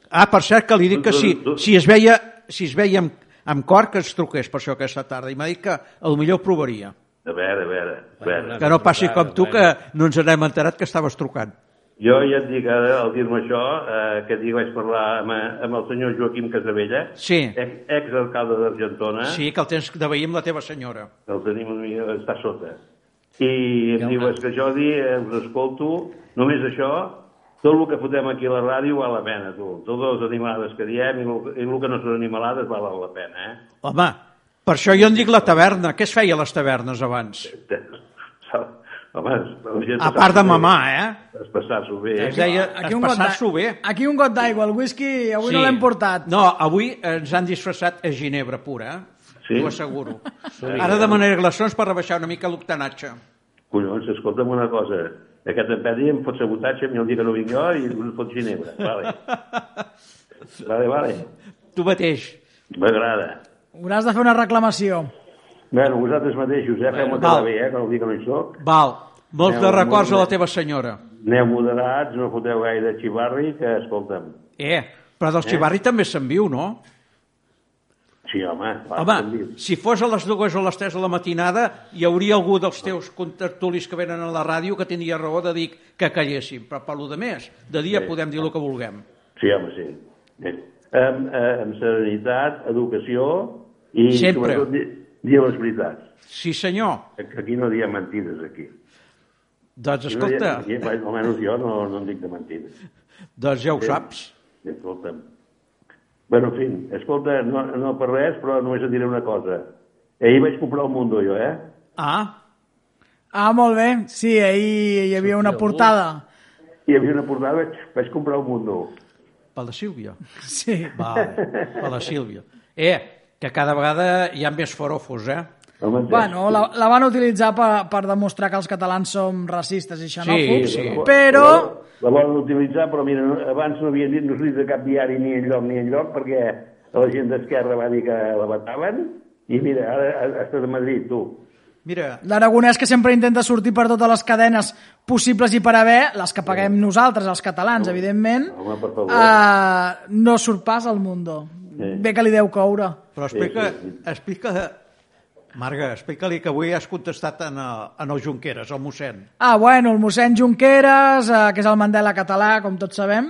S1: Ah, per cert, que li dic que si, si es veia, si es veia amb, amb cor que ens truqués per això aquesta tarda i m'ha dit que el millor provaria.
S4: A veure, a veure, a veure.
S1: Que no passi com tu, que no ens n'hem enterat que estaves trucant.
S4: Jo ja et dic, ara, al dir-me això, eh, que dic, vaig parlar amb, eh, amb el senyor Joaquim Casabella,
S1: Sí.
S4: ex- exalcalde d'Argentona,
S1: Sí, que el tens de veir amb la teva senyora.
S4: el tenim una mica, està sota. I em diu, és que Jordi, eh, us escolto, només això, tot el que fotem aquí a la ràdio val la pena, tu. Totes les animalades que diem i el, i el que no són animalades valen la pena, eh?
S1: Home, per això jo en dic la taverna. Què es feia a les tavernes abans?
S4: Home, la gent
S1: A part de
S4: passar-s'ho
S1: mamar,
S4: bé.
S1: eh?
S4: Es passar-s'ho bé.
S1: Es deia es
S3: got
S1: passar-s'ho
S3: d'a-
S1: bé.
S3: Aquí un got d'aigua, el whisky avui no l'hem portat.
S1: No, avui ens han disfressat a Ginebra pura, eh?
S4: Sí?
S1: Ho asseguro. Ara demanaré glaçons per rebaixar una mica l'octanatge.
S4: Collons, escolta'm una cosa. Aquest empedi em fot sabotatge, a mi el dia que no vinc jo, i em fot Ginebra. Vale. Vale, vale.
S1: Tu mateix.
S4: M'agrada.
S3: Hauràs de fer una reclamació.
S4: Bueno, vosaltres mateixos, eh? Feu-me
S1: Val.
S4: quedar bé, eh? Que el dia que no hi soc.
S1: Val, molts
S4: Aneu
S1: de records a
S4: molt
S1: la
S4: bé.
S1: teva senyora.
S4: Aneu moderats, no foteu gaire xivarri, que, escolta'm...
S1: Eh, però del Xivarri també se'n viu, no?
S4: Sí, home. va, com
S1: Home,
S4: diu.
S1: si fos a les dues o a les tres de la matinada, hi hauria algú dels teus contertulis que venen a la ràdio que tindria raó de dir que calléssim, però per lo de més, de dia
S4: Sí.
S1: podem dir el que vulguem.
S4: Sí, home, sí. Bé. Amb, eh, amb serenitat, educació i
S1: Sempre.
S4: sobretot di- dir les veritats.
S1: Sí, senyor.
S4: Que aquí no diem mentides, aquí.
S1: Doncs
S4: Aquí no diem-
S1: escolta,
S4: Aquí, bueno, almenys jo no, no en dic de mentides.
S1: doncs ja ho saps.
S4: Escolta'm. Bueno, en fi, escolta, no, no per res, però només et diré una cosa. Ahir vaig comprar el Mundo, jo, eh?
S1: Ah,
S3: Ah, molt bé. Sí, ahir hi havia una
S2: Sortia
S3: portada.
S4: I hi havia una portada, vaig, vaig comprar el Mundo.
S1: per la Sílvia.
S3: Sí.
S1: Vale, per la Sílvia. Eh, que cada vegada hi ha més forofos, eh?
S4: Home, sí.
S3: Bueno, la, la van utilitzar per, per demostrar que els catalans som racistes i xenòfobs,
S1: Sí, sí.
S3: però...
S4: La, la volen utilitzar, però mira, no- abans no havien dit, no s'ha dit a cap diari ni enlloc ni enlloc, perquè la gent d'Esquerra va dir que la bataven, i mira, ara ha- estàs a Madrid, tu.
S1: Mira,
S3: L'Aragonès que sempre intenta sortir per totes les cadenes possibles i per haver, les que paguem nosaltres, els catalans, evidentment,
S4: Home, per favor.
S3: eh, no surt pas al Mundo.
S4: Sí.
S3: Bé que li deu coure.
S1: però explica,
S4: Sí, sí, sí.
S1: explica Marga, explica-li que avui has contestat en, el, en el Junqueras, el mossèn.
S3: Ah, bueno, el mossèn Junqueras, eh, que és el Mandela català, com tots sabem,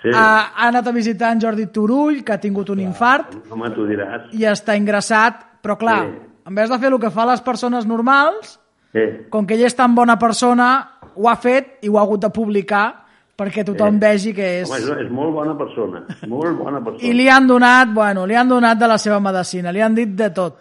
S4: Sí.
S3: eh, ha anat a visitar en Jordi Turull, que ha tingut un infart
S4: Home, tu diràs.
S3: i està ingressat, però clar,
S4: Sí.
S3: en vez de fer el que fa les persones normals,
S4: Eh,
S3: com que ell és tan bona persona, ho ha fet i ho ha hagut de publicar perquè tothom
S4: Eh.
S3: vegi que és...
S4: home, és, és molt bona persona, molt bona persona.
S3: I li han donat, bueno, li han donat de la seva medicina, li han dit de tot.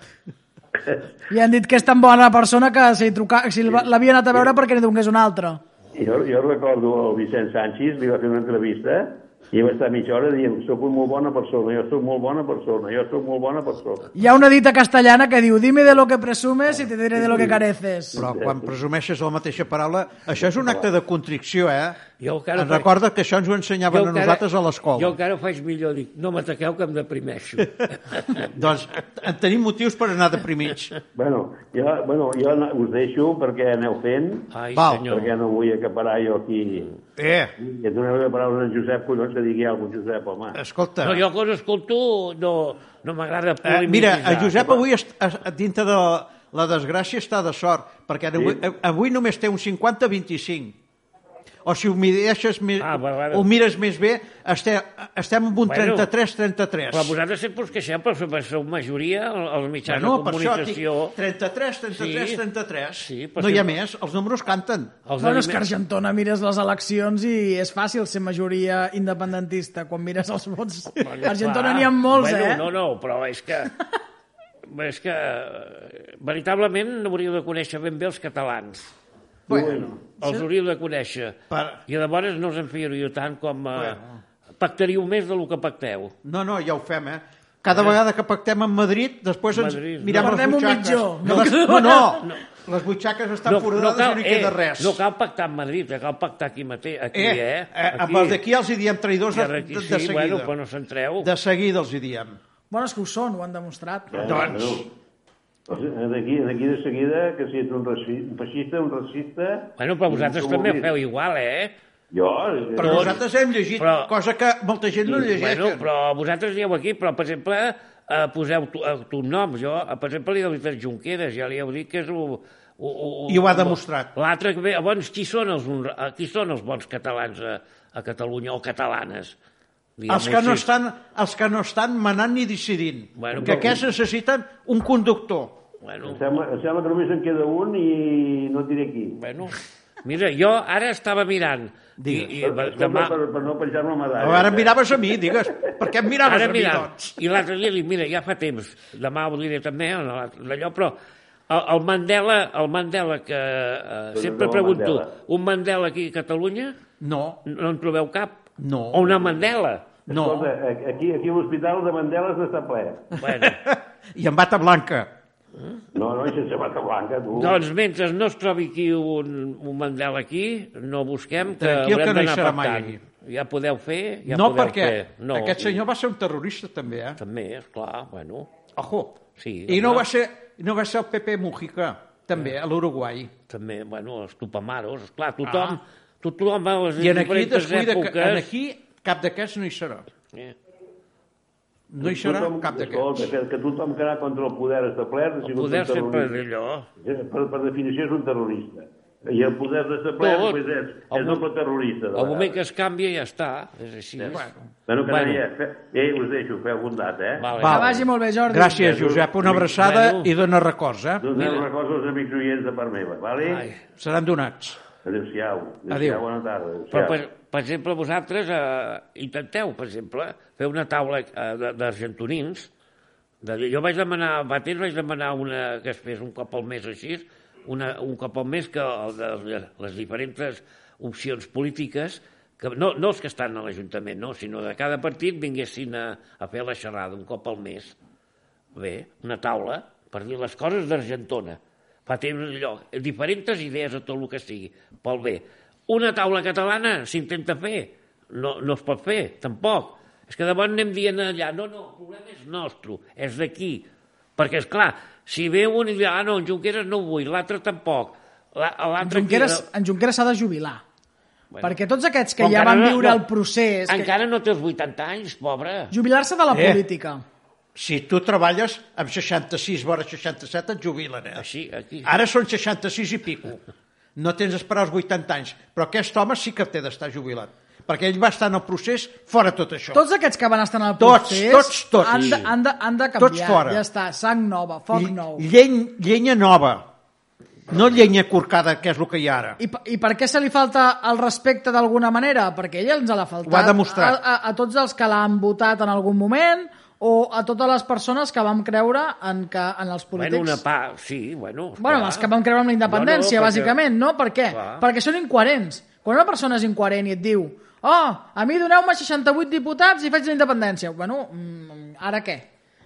S3: Li han dit que és tan bona persona que si, truca, si el va- l'havia anat a veure perquè n'hi donés una altra.
S4: Jo, jo recordo el Vicent Sánchez, li va fer una entrevista i va estar mitja hora dient soc una molt bona persona, jo sóc molt bona persona, jo sóc molt bona persona.
S3: Hi ha una dita castellana que diu dime de lo que presumes i te diré de lo que careces.
S1: Però quan presumeixes la mateixa paraula, això és un acte de contricció, eh?
S2: Jo encara
S1: Ens
S2: faig-
S1: recorda que això ens ho ensenyaven a nosaltres a
S2: Jo
S1: l'escola.
S2: encara ho faig millor, dic, no m'ataqueu que em deprimeixo.
S1: Doncs en tenim motius per anar deprimits.
S4: Bueno, jo, bueno, jo no- us deixo perquè aneu fent,
S2: Ai,
S1: Val.
S2: senyor. Mm.
S4: perquè no vull acaparar jo aquí.
S1: Eh,
S4: I et doneu la paraula a en Josep Collons que digui alguna cosa, Josep, home.
S1: escolta...
S2: No, jo quan escolto no, no m'agrada
S1: Eh,
S2: polemitzar.
S1: mira, el Josep avui, est, es- dintre de la, la desgràcia, està de sort, perquè ara avui, eh, avui només té un 50-25. O si ho, mireixes més,
S2: Ah, però ara-
S1: ho mires més bé, estem, estem amb un
S2: Bueno, Però
S1: 33-33.
S2: vosaltres sempre us queixeu, però som- sou majoria als mitjans
S1: Bueno,
S2: de
S1: per això dic
S2: comunicació.
S1: 33, 33,
S2: Sí.
S1: 33.
S2: Sí, però
S1: no hi ha
S2: si-
S1: més, els números canten.
S2: Els
S3: Bueno, és que a
S2: aliments-
S3: Argentona mires les eleccions i és fàcil ser majoria independentista quan mires els vots.
S2: Bueno,
S3: A Argentona
S2: clar.
S3: n'hi ha molts,
S2: Ah, bueno,
S3: eh?
S2: No, no, però és que... és que eh, veritablement no hauríeu de conèixer ben bé els catalans.
S1: Bueno,
S2: Els hauríeu de conèixer.
S1: Per-
S2: I llavors no us en fiaríeu tant com... Eh, Pactaríeu més del que pacteu.
S1: no, no, ja ho fem, eh? Cada vegada que pactem amb Madrid, després ens
S2: Madrid, no.
S1: mirem les
S3: Guardem un
S1: butxaques.
S3: mitjó.
S1: No, les, no, no, les butxaques estan foradades i no hi queda res.
S2: eh, no cal pactar amb Madrid, eh, cal pactar aquí mateix, aquí,
S1: Eh,
S2: eh?
S1: eh, amb els d'aquí els hi diem traïdors
S2: I
S1: de,
S2: ara aquí
S1: de,
S2: sí,
S1: de seguida.
S2: bueno, però no centreu.
S1: De seguida els hi diem.
S3: Bueno, és que ho són, ho han demostrat.
S4: Eh,
S1: doncs.
S4: bueno, D'aquí d'aquí de seguida, que si ets un, raci- un feixista, un racista...
S2: Bueno, però vosaltres
S4: Com ho
S2: també ho
S4: dius?
S2: feu igual, eh?
S4: Jo? eh,
S1: Però
S4: jo-
S1: nosaltres hem llegit
S2: Doncs, però-
S1: cosa que molta gent no llegeix.
S2: Bueno, però vosaltres dieu aquí, però, per exemple, eh, poseu tu, eh, tu nom. Jo, eh, per exemple, li heu dit a Junqueras, ja li heu dit que és un... un, un
S1: I ho ha demostrat.
S2: L'altre que ve... Llavors, qui són els, honra- eh, qui són els bons catalans a, a Catalunya o catalanes? Diguem-ho
S1: els, que no
S2: així.
S1: estan, els que no estan manant ni decidint.
S2: Bueno,
S1: que
S2: però-
S1: aquests necessiten un conductor.
S2: Bueno,
S4: Em sembla, em sembla que només en queda un i no et diré qui.
S2: bueno, mira, jo ara estava mirant. I,
S1: Digues.
S2: i,
S4: Per,
S2: demà,
S4: per, per no penjar-me la medalla.
S1: Ara em miraves a mi, digues. Per què em miraves
S2: Ara
S1: a mi,
S2: mirant.
S1: doncs?
S2: I l'altre dia dic, mira, ja fa temps, demà ho diré també, en l'altre- d'allò, però el, el Mandela, el Mandela que eh, sempre
S4: no,
S2: pregunto,
S4: Mandela.
S2: un Mandela aquí a Catalunya,
S1: No,
S2: no en trobeu cap?
S1: No.
S2: O una Mandela?
S1: no.
S4: Escolta, a- aquí, aquí a l'hospital de Mandeles està ple.
S2: Bueno,
S1: I amb bata blanca.
S4: No, no, i sense bata blanca, tu.
S2: doncs mentre no es trobi aquí un, un Mandela aquí, no busquem, que
S1: Tranquil, que
S2: haurem
S1: no hi
S2: d'anar
S1: serà mai
S2: pactant.
S1: aquí.
S2: Ja podeu fer, ja
S1: no,
S2: podeu
S1: perquè
S2: fer. No,
S1: aquest senyor va ser un terrorista, també, eh?
S2: També, esclar, bueno,
S1: Ojo.
S2: Sí,
S1: I no
S2: home.
S1: va, ser, no va ser el Pepe Mujica, també, a l'Uruguai.
S2: també, bueno, els tupamaros, esclar, tothom, tothom va a
S1: Ah.
S2: les
S1: I en aquí
S2: diferents
S1: descuida
S2: èpoques...
S1: que en aquí cap d'aquests no hi serà.
S2: Eh.
S1: No hi serà
S4: Tothom-
S1: cap d'aquests.
S4: Escolta, que, que tothom que anà contra el poder establert ha
S2: El
S4: sigut
S2: poder
S4: un
S2: sempre és
S4: terrorista.
S2: allò.
S4: Eh, Per, per definició és un terrorista. I el poder establert
S2: Tot.
S4: pues és,
S2: El
S4: és
S2: mo-
S4: doble terrorista. de
S2: El moment que
S4: vegades.
S2: es canvia ja està, és així.
S1: Bueno.
S4: Bueno, que
S2: Bueno.
S4: bueno. Fe... Eh, us deixo, feu bondat, eh?
S2: Vale.
S3: Que
S1: Val.
S3: vagi molt bé, Jordi.
S1: Gràcies, Josep. Una abraçada
S2: Bueno.
S1: i dona records, eh?
S4: Doneu records als amics oients de part meva, vale?
S2: Ai,
S1: Seran donats.
S4: Adéu-siau.
S1: Adéu.
S4: Bona tarda. Adéu-siau.
S2: Però, per, per exemple, vosaltres eh, intenteu, per exemple, fer una taula eh, d'argentonins. De, jo vaig demanar, fa temps vaig demanar una, que es fes un cop al mes així, una, un cop al mes que el de, les diferents opcions polítiques, que no, no els que estan a l'Ajuntament, no, sinó de cada partit vinguessin a, a fer la xerrada un cop al mes. Bé, una taula per dir les coses d'Argentona. Fa temps allò, diferents idees a tot el que sigui, pel bé. Una taula catalana s'intenta fer, no, no es pot fer, tampoc. És que de bon anem dient allà, no, no, el problema és nostre, és d'aquí. Perquè, és clar, si ve un i diu, ah, no, en Junqueras no ho vull, l'altre tampoc. La,
S3: En
S2: l'altre
S3: Junqueras,
S2: crida-
S3: en Junqueras s'ha de jubilar.
S2: Bueno.
S3: Perquè tots aquests que
S2: Però
S3: ja
S2: encara
S3: van
S2: no-
S3: viure
S2: no-
S3: el procés... que-
S2: Encara no té els 80 anys, pobre.
S3: Jubilar-se de la
S1: Eh.
S3: política.
S1: Si tu treballes amb 66, vora 67, et jubilen, eh?
S2: Així, aquí.
S1: Ara són 66 i pico. No tens d'esperar els 80 anys. Però aquest home sí que té d'estar jubilat. Perquè ell va estar en el procés fora tot això.
S3: Tots aquests que van estar en el
S1: Tots,
S3: procés
S1: tots, tots.
S3: Han, de,
S1: Sí.
S3: han, de, han de canviar.
S1: Tots fora.
S3: Ja està, sang nova, foc
S1: Ll-
S3: nou.
S1: Lleny, llenya nova. No llenya corcada, que és el que hi ha ara.
S3: I, per- I per què se li falta el respecte d'alguna manera? Perquè ell ens l'ha faltat
S1: Ho ha demostrat.
S3: A, a, a tots els que l'han votat en algun moment o a totes les persones que vam creure en, que, en els polítics...
S2: Bueno, una part, sí, bueno. esclar.
S3: Bueno, els que van creure en la
S2: No, no,
S3: independència,
S2: perquè-
S3: bàsicament, no? Per què?
S2: Clar.
S3: Perquè són incoherents. Quan una persona és incoherent i et diu «Oh, a mi doneu-me 68 diputats i faig la independència». Bueno, mm, ara què?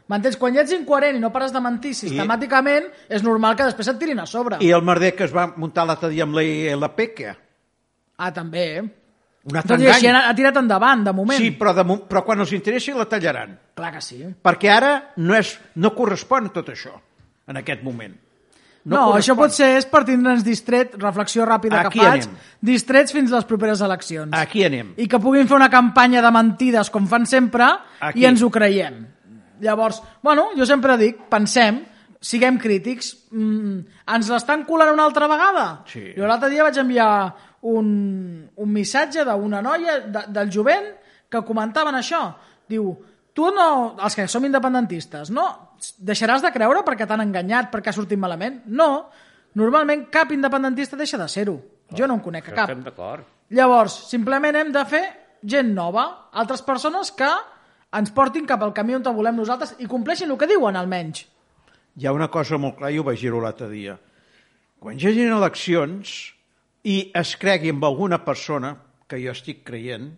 S3: M'entens? Quan ja ets incoherent i no pares de mentir sistemàticament, és normal que després et tirin a sobre.
S1: I el merder que es va muntar l'altre dia amb la ILP, què?
S3: Ah, també, eh?
S1: Un altre
S3: Tot i així,
S1: engany.
S3: ha ha tirat endavant, de moment.
S1: Sí, però, de, mo- però quan els interessi la tallaran.
S3: Clar que sí.
S1: Perquè ara no, és, no correspon a tot això, en aquest moment.
S3: No, això pot ser és per tindre'ns distret, reflexió ràpida
S1: Aquí
S3: que faig,
S1: anem.
S3: distrets fins les properes eleccions.
S1: Aquí anem.
S3: i que puguin fer una campanya de mentides com fan sempre
S1: Aquí.
S3: i ens ho creiem. Llavors, bueno, jo sempre dic, pensem, siguem crítics, mm, ens l'estan colant una altra vegada?
S1: Sí.
S3: Jo l'altre dia vaig enviar un, un missatge d'una noia de, del jovent que comentaven això. Diu, tu no, els que som independentistes, no, deixaràs de creure perquè t'han enganyat, perquè ha sortit malament? No, normalment cap independentista deixa de ser-ho. Jo no en conec a cap.
S2: Estem d'acord.
S3: Llavors, simplement hem de fer gent nova, altres persones que ens portin cap al camí on volem nosaltres i compleixin el que diuen, almenys.
S1: Hi ha una cosa molt clara, i ho vaig dir l'altre dia. Quan hi hagin eleccions i es cregui amb alguna persona, que jo estic creient,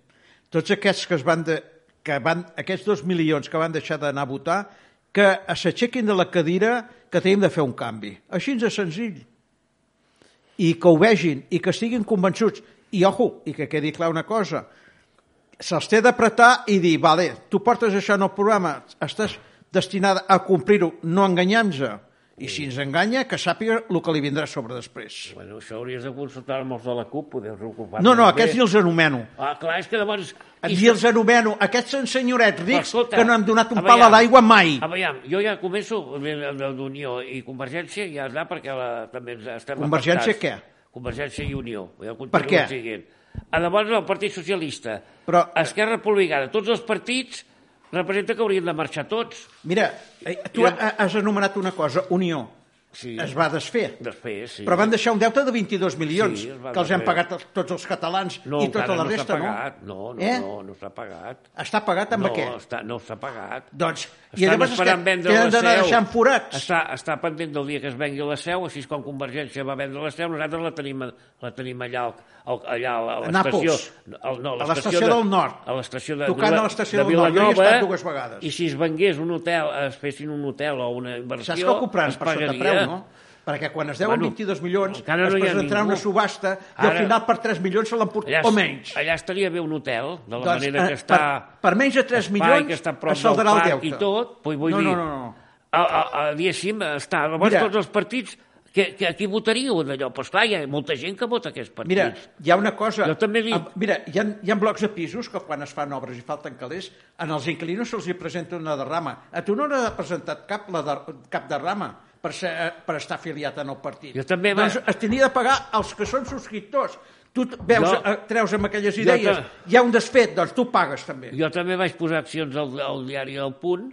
S1: tots aquests que es van de, que van, aquests dos milions que van deixar d'anar a votar, que s'aixequin de la cadira que tenim de fer un canvi. Així de senzill. I que ho vegin, i que estiguin convençuts. I, ojo, i que quedi clar una cosa, se'ls té d'apretar i dir, vale, tu portes això en el programa, estàs destinada a complir-ho, no enganyem-se. I si ens enganya, que sàpiga el que li vindrà a sobre després.
S2: Bueno, això hauries de consultar amb els de la CUP, podeu ocupar
S1: No, no, aquests ni els anomeno.
S2: Ah, clar, és que llavors... I
S1: Ni els anomeno. Aquests són senyorets
S2: Però,
S1: rics
S2: escolta,
S1: que no han donat un
S2: aviam,
S1: pal a l'aigua mai.
S2: Aviam, jo ja començo amb d'Unió i Convergència ja anar perquè la, també ens estem
S1: Convergència
S2: què? Convergència i Unió. Ja continuo
S1: Per què?
S2: el Siguent. A llavors el Partit Socialista,
S1: Però-
S2: Esquerra Republicana, tots els partits representa que haurien de marxar tots.
S1: Mira, eh, tu
S2: Jo-
S1: ha- has anomenat una cosa, Unió.
S2: Sí.
S1: Es va desfer.
S2: Després, sí.
S1: Però van deixar un deute de 22 milions,
S2: Sí, es va
S1: que els han
S2: desfer.
S1: pagat els- tots els catalans
S2: no,
S1: i tota
S2: encara
S1: la
S2: no s'ha
S1: resta, no?
S2: pagat. No, no,
S1: Eh?
S2: no, no s'ha pagat.
S1: Està pagat amb
S2: no,
S1: què?
S2: Està, no s'ha pagat.
S1: Doncs, i
S2: Estan
S1: llavors és que
S2: esperant vendre
S1: queden
S2: la
S1: d'anar
S2: seu.
S1: deixant forats.
S2: Està, està pendent del dia que es vengui la seu, així és com Convergència va vendre la seu, nosaltres la tenim, la tenim allà, al- al, allà a
S1: A
S2: l'estació...
S1: Nàpols.
S2: al- No,
S1: A l'estació del Nord.
S2: A l'estació de,
S1: Tocant
S2: Vila-
S1: a l'estació
S2: de
S1: del Nord. Jo hi he
S2: Vilanova,
S1: estat dues vegades.
S2: I si es vengués un hotel, es fessin un hotel o una inversió...
S1: Saps que ho compraran
S2: es
S1: per sota
S2: pagaria.
S1: preu, no? Perquè quan es deuen
S2: Bueno,
S1: 22 milions,
S2: encara no
S1: es
S2: hi ha
S1: presentarà
S2: ningú.
S1: una subhasta i
S2: Ara-
S1: al final per 3 milions se l'emportarà,
S2: Allà,
S1: o menys.
S2: Allà estaria bé un hotel, de la
S1: Doncs,
S2: manera
S1: eh,
S2: que està...
S1: per, per menys de 3
S2: espai,
S1: milions
S2: que està a prop
S1: es saldarà
S2: del
S1: el
S2: parc
S1: deute.
S2: i tot, vull, vull
S1: no,
S2: dir...
S1: No, no, no.
S2: A, a, a, diguéssim, està... Llavors,
S1: Mira.
S2: tots els partits, que, que aquí votaríeu d'allò? Però esclar, hi ha molta gent que vota aquests partits.
S1: Mira, hi ha una cosa...
S2: Jo també dic-
S1: Ah, Mira, hi ha, hi ha blocs de pisos que quan es fan obres i falten calés, en els inquilinos se'ls hi presenta una derrama. A tu no n'ha presentat cap, la de, cap derrama per, ser, per estar afiliat en el partit.
S2: Jo també, va-
S1: Doncs es tenia de pagar els que són subscriptors. Tu t- veus,
S2: Jo-
S1: eh, treus amb aquelles
S2: Jo
S1: idees,
S2: ta-
S1: hi ha un desfet, doncs tu pagues també.
S2: Jo també vaig posar accions al, al diari El Punt,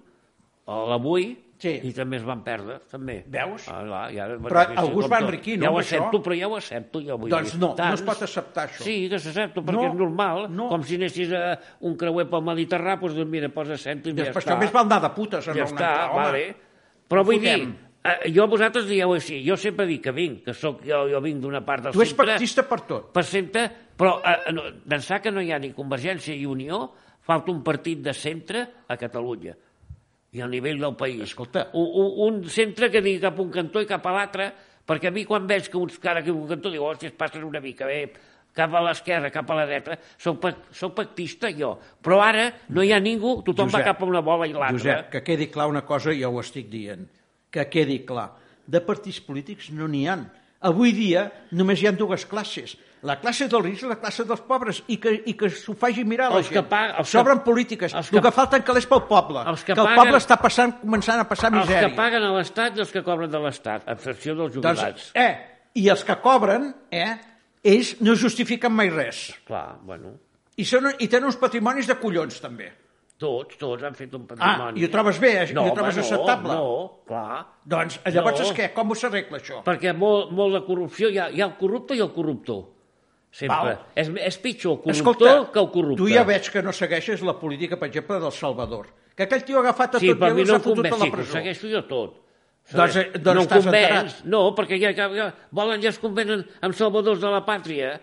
S2: a l'Avui,
S1: Sí.
S2: I també es van perdre, també.
S1: Veus?
S2: Ah, clar, ja es
S1: Però
S2: beneficia
S1: algú es
S2: com
S1: va
S2: tot.
S1: enriquir, no,
S2: Ja ho
S1: amb això?
S2: accepto, però ja ho accepto. Ja ho vull
S1: Doncs
S2: dir.
S1: no, no es pot acceptar això.
S2: Sí, que s'accepto, perquè
S1: No,
S2: és normal.
S1: no.
S2: Com si anessis a un creuer pel Mediterrà, doncs, doncs mira, posa cèntim i ja
S1: Després
S2: està.
S1: també es va anar de putes en
S2: Ja
S1: el
S2: està,
S1: home.
S2: vale. Però vull dir,
S1: Fotem.
S2: eh, jo vosaltres dieu així, jo sempre dic que vinc, que sóc jo, jo vinc d'una part del
S1: Tu ets
S2: centre,
S1: pactista per tot.
S2: per centre, però eh, no, pensar que no hi ha ni Convergència i Unió, falta un partit de centre a Catalunya i al nivell del país.
S1: Escolta.
S2: Un, un, un centre que digui cap a un cantó i cap a l'altre, perquè a mi quan veig que uns cara que un cantó diu, hòstia, es passen una mica bé, cap a l'esquerra, cap a la dreta, soc, pac- soc pactista jo, però ara no hi ha ningú, tothom
S1: Josep,
S2: va cap a una bola i l'altra.
S1: Josep, que quedi clar una cosa, jo ho estic dient, que quedi clar. De partits polítics no n'hi han. Avui dia només hi ha dues classes. La classe dels rics i la classe dels pobres. I que, i que s'ho faci mirar la
S2: Els que
S1: gent.
S2: pag- els que-
S1: S'obren polítiques.
S2: els
S1: El
S2: que-
S1: que, falten calés pel poble.
S2: els que
S1: que el
S2: paguen-
S1: poble està passant, començant a passar
S2: Els
S1: misèria.
S2: que paguen a l'Estat i els que cobren de l'Estat, a excepció dels jubilats.
S1: Doncs, eh, I els que cobren, eh, ells no justifiquen mai res.
S2: Clar, bueno,
S1: I, són, I tenen uns patrimonis de collons, també.
S2: tots, tots han fet un
S1: Ah,
S2: patrimoni.
S1: i ho trobes bé, eh?
S2: no,
S1: I ho trobes
S2: home,
S1: acceptable.
S2: No, no, clar.
S1: Doncs llavors
S2: No.
S1: és què? Com ho s'arregla, això?
S2: Perquè molt, molt de corrupció, hi ha, hi ha el corrupte i el corruptor. Sempre.
S1: Val.
S2: És, és pitjor el corruptor Escolta, que el corrupte.
S1: tu ja veig que no segueixes la política, per exemple, del Salvador. Que aquell tio ha agafat a
S2: Sí,
S1: tot
S2: per mi
S1: i
S2: no
S1: s'ha
S2: em
S1: fotut
S2: convenç,
S1: a la
S2: sí, ho
S1: presó.
S2: segueixo jo tot.
S1: Doncs, eh, doncs
S2: no em
S1: estàs
S2: convenç,
S1: enterat.
S2: no, perquè ja, ja, ja volen ja es convenen amb salvadors de la pàtria.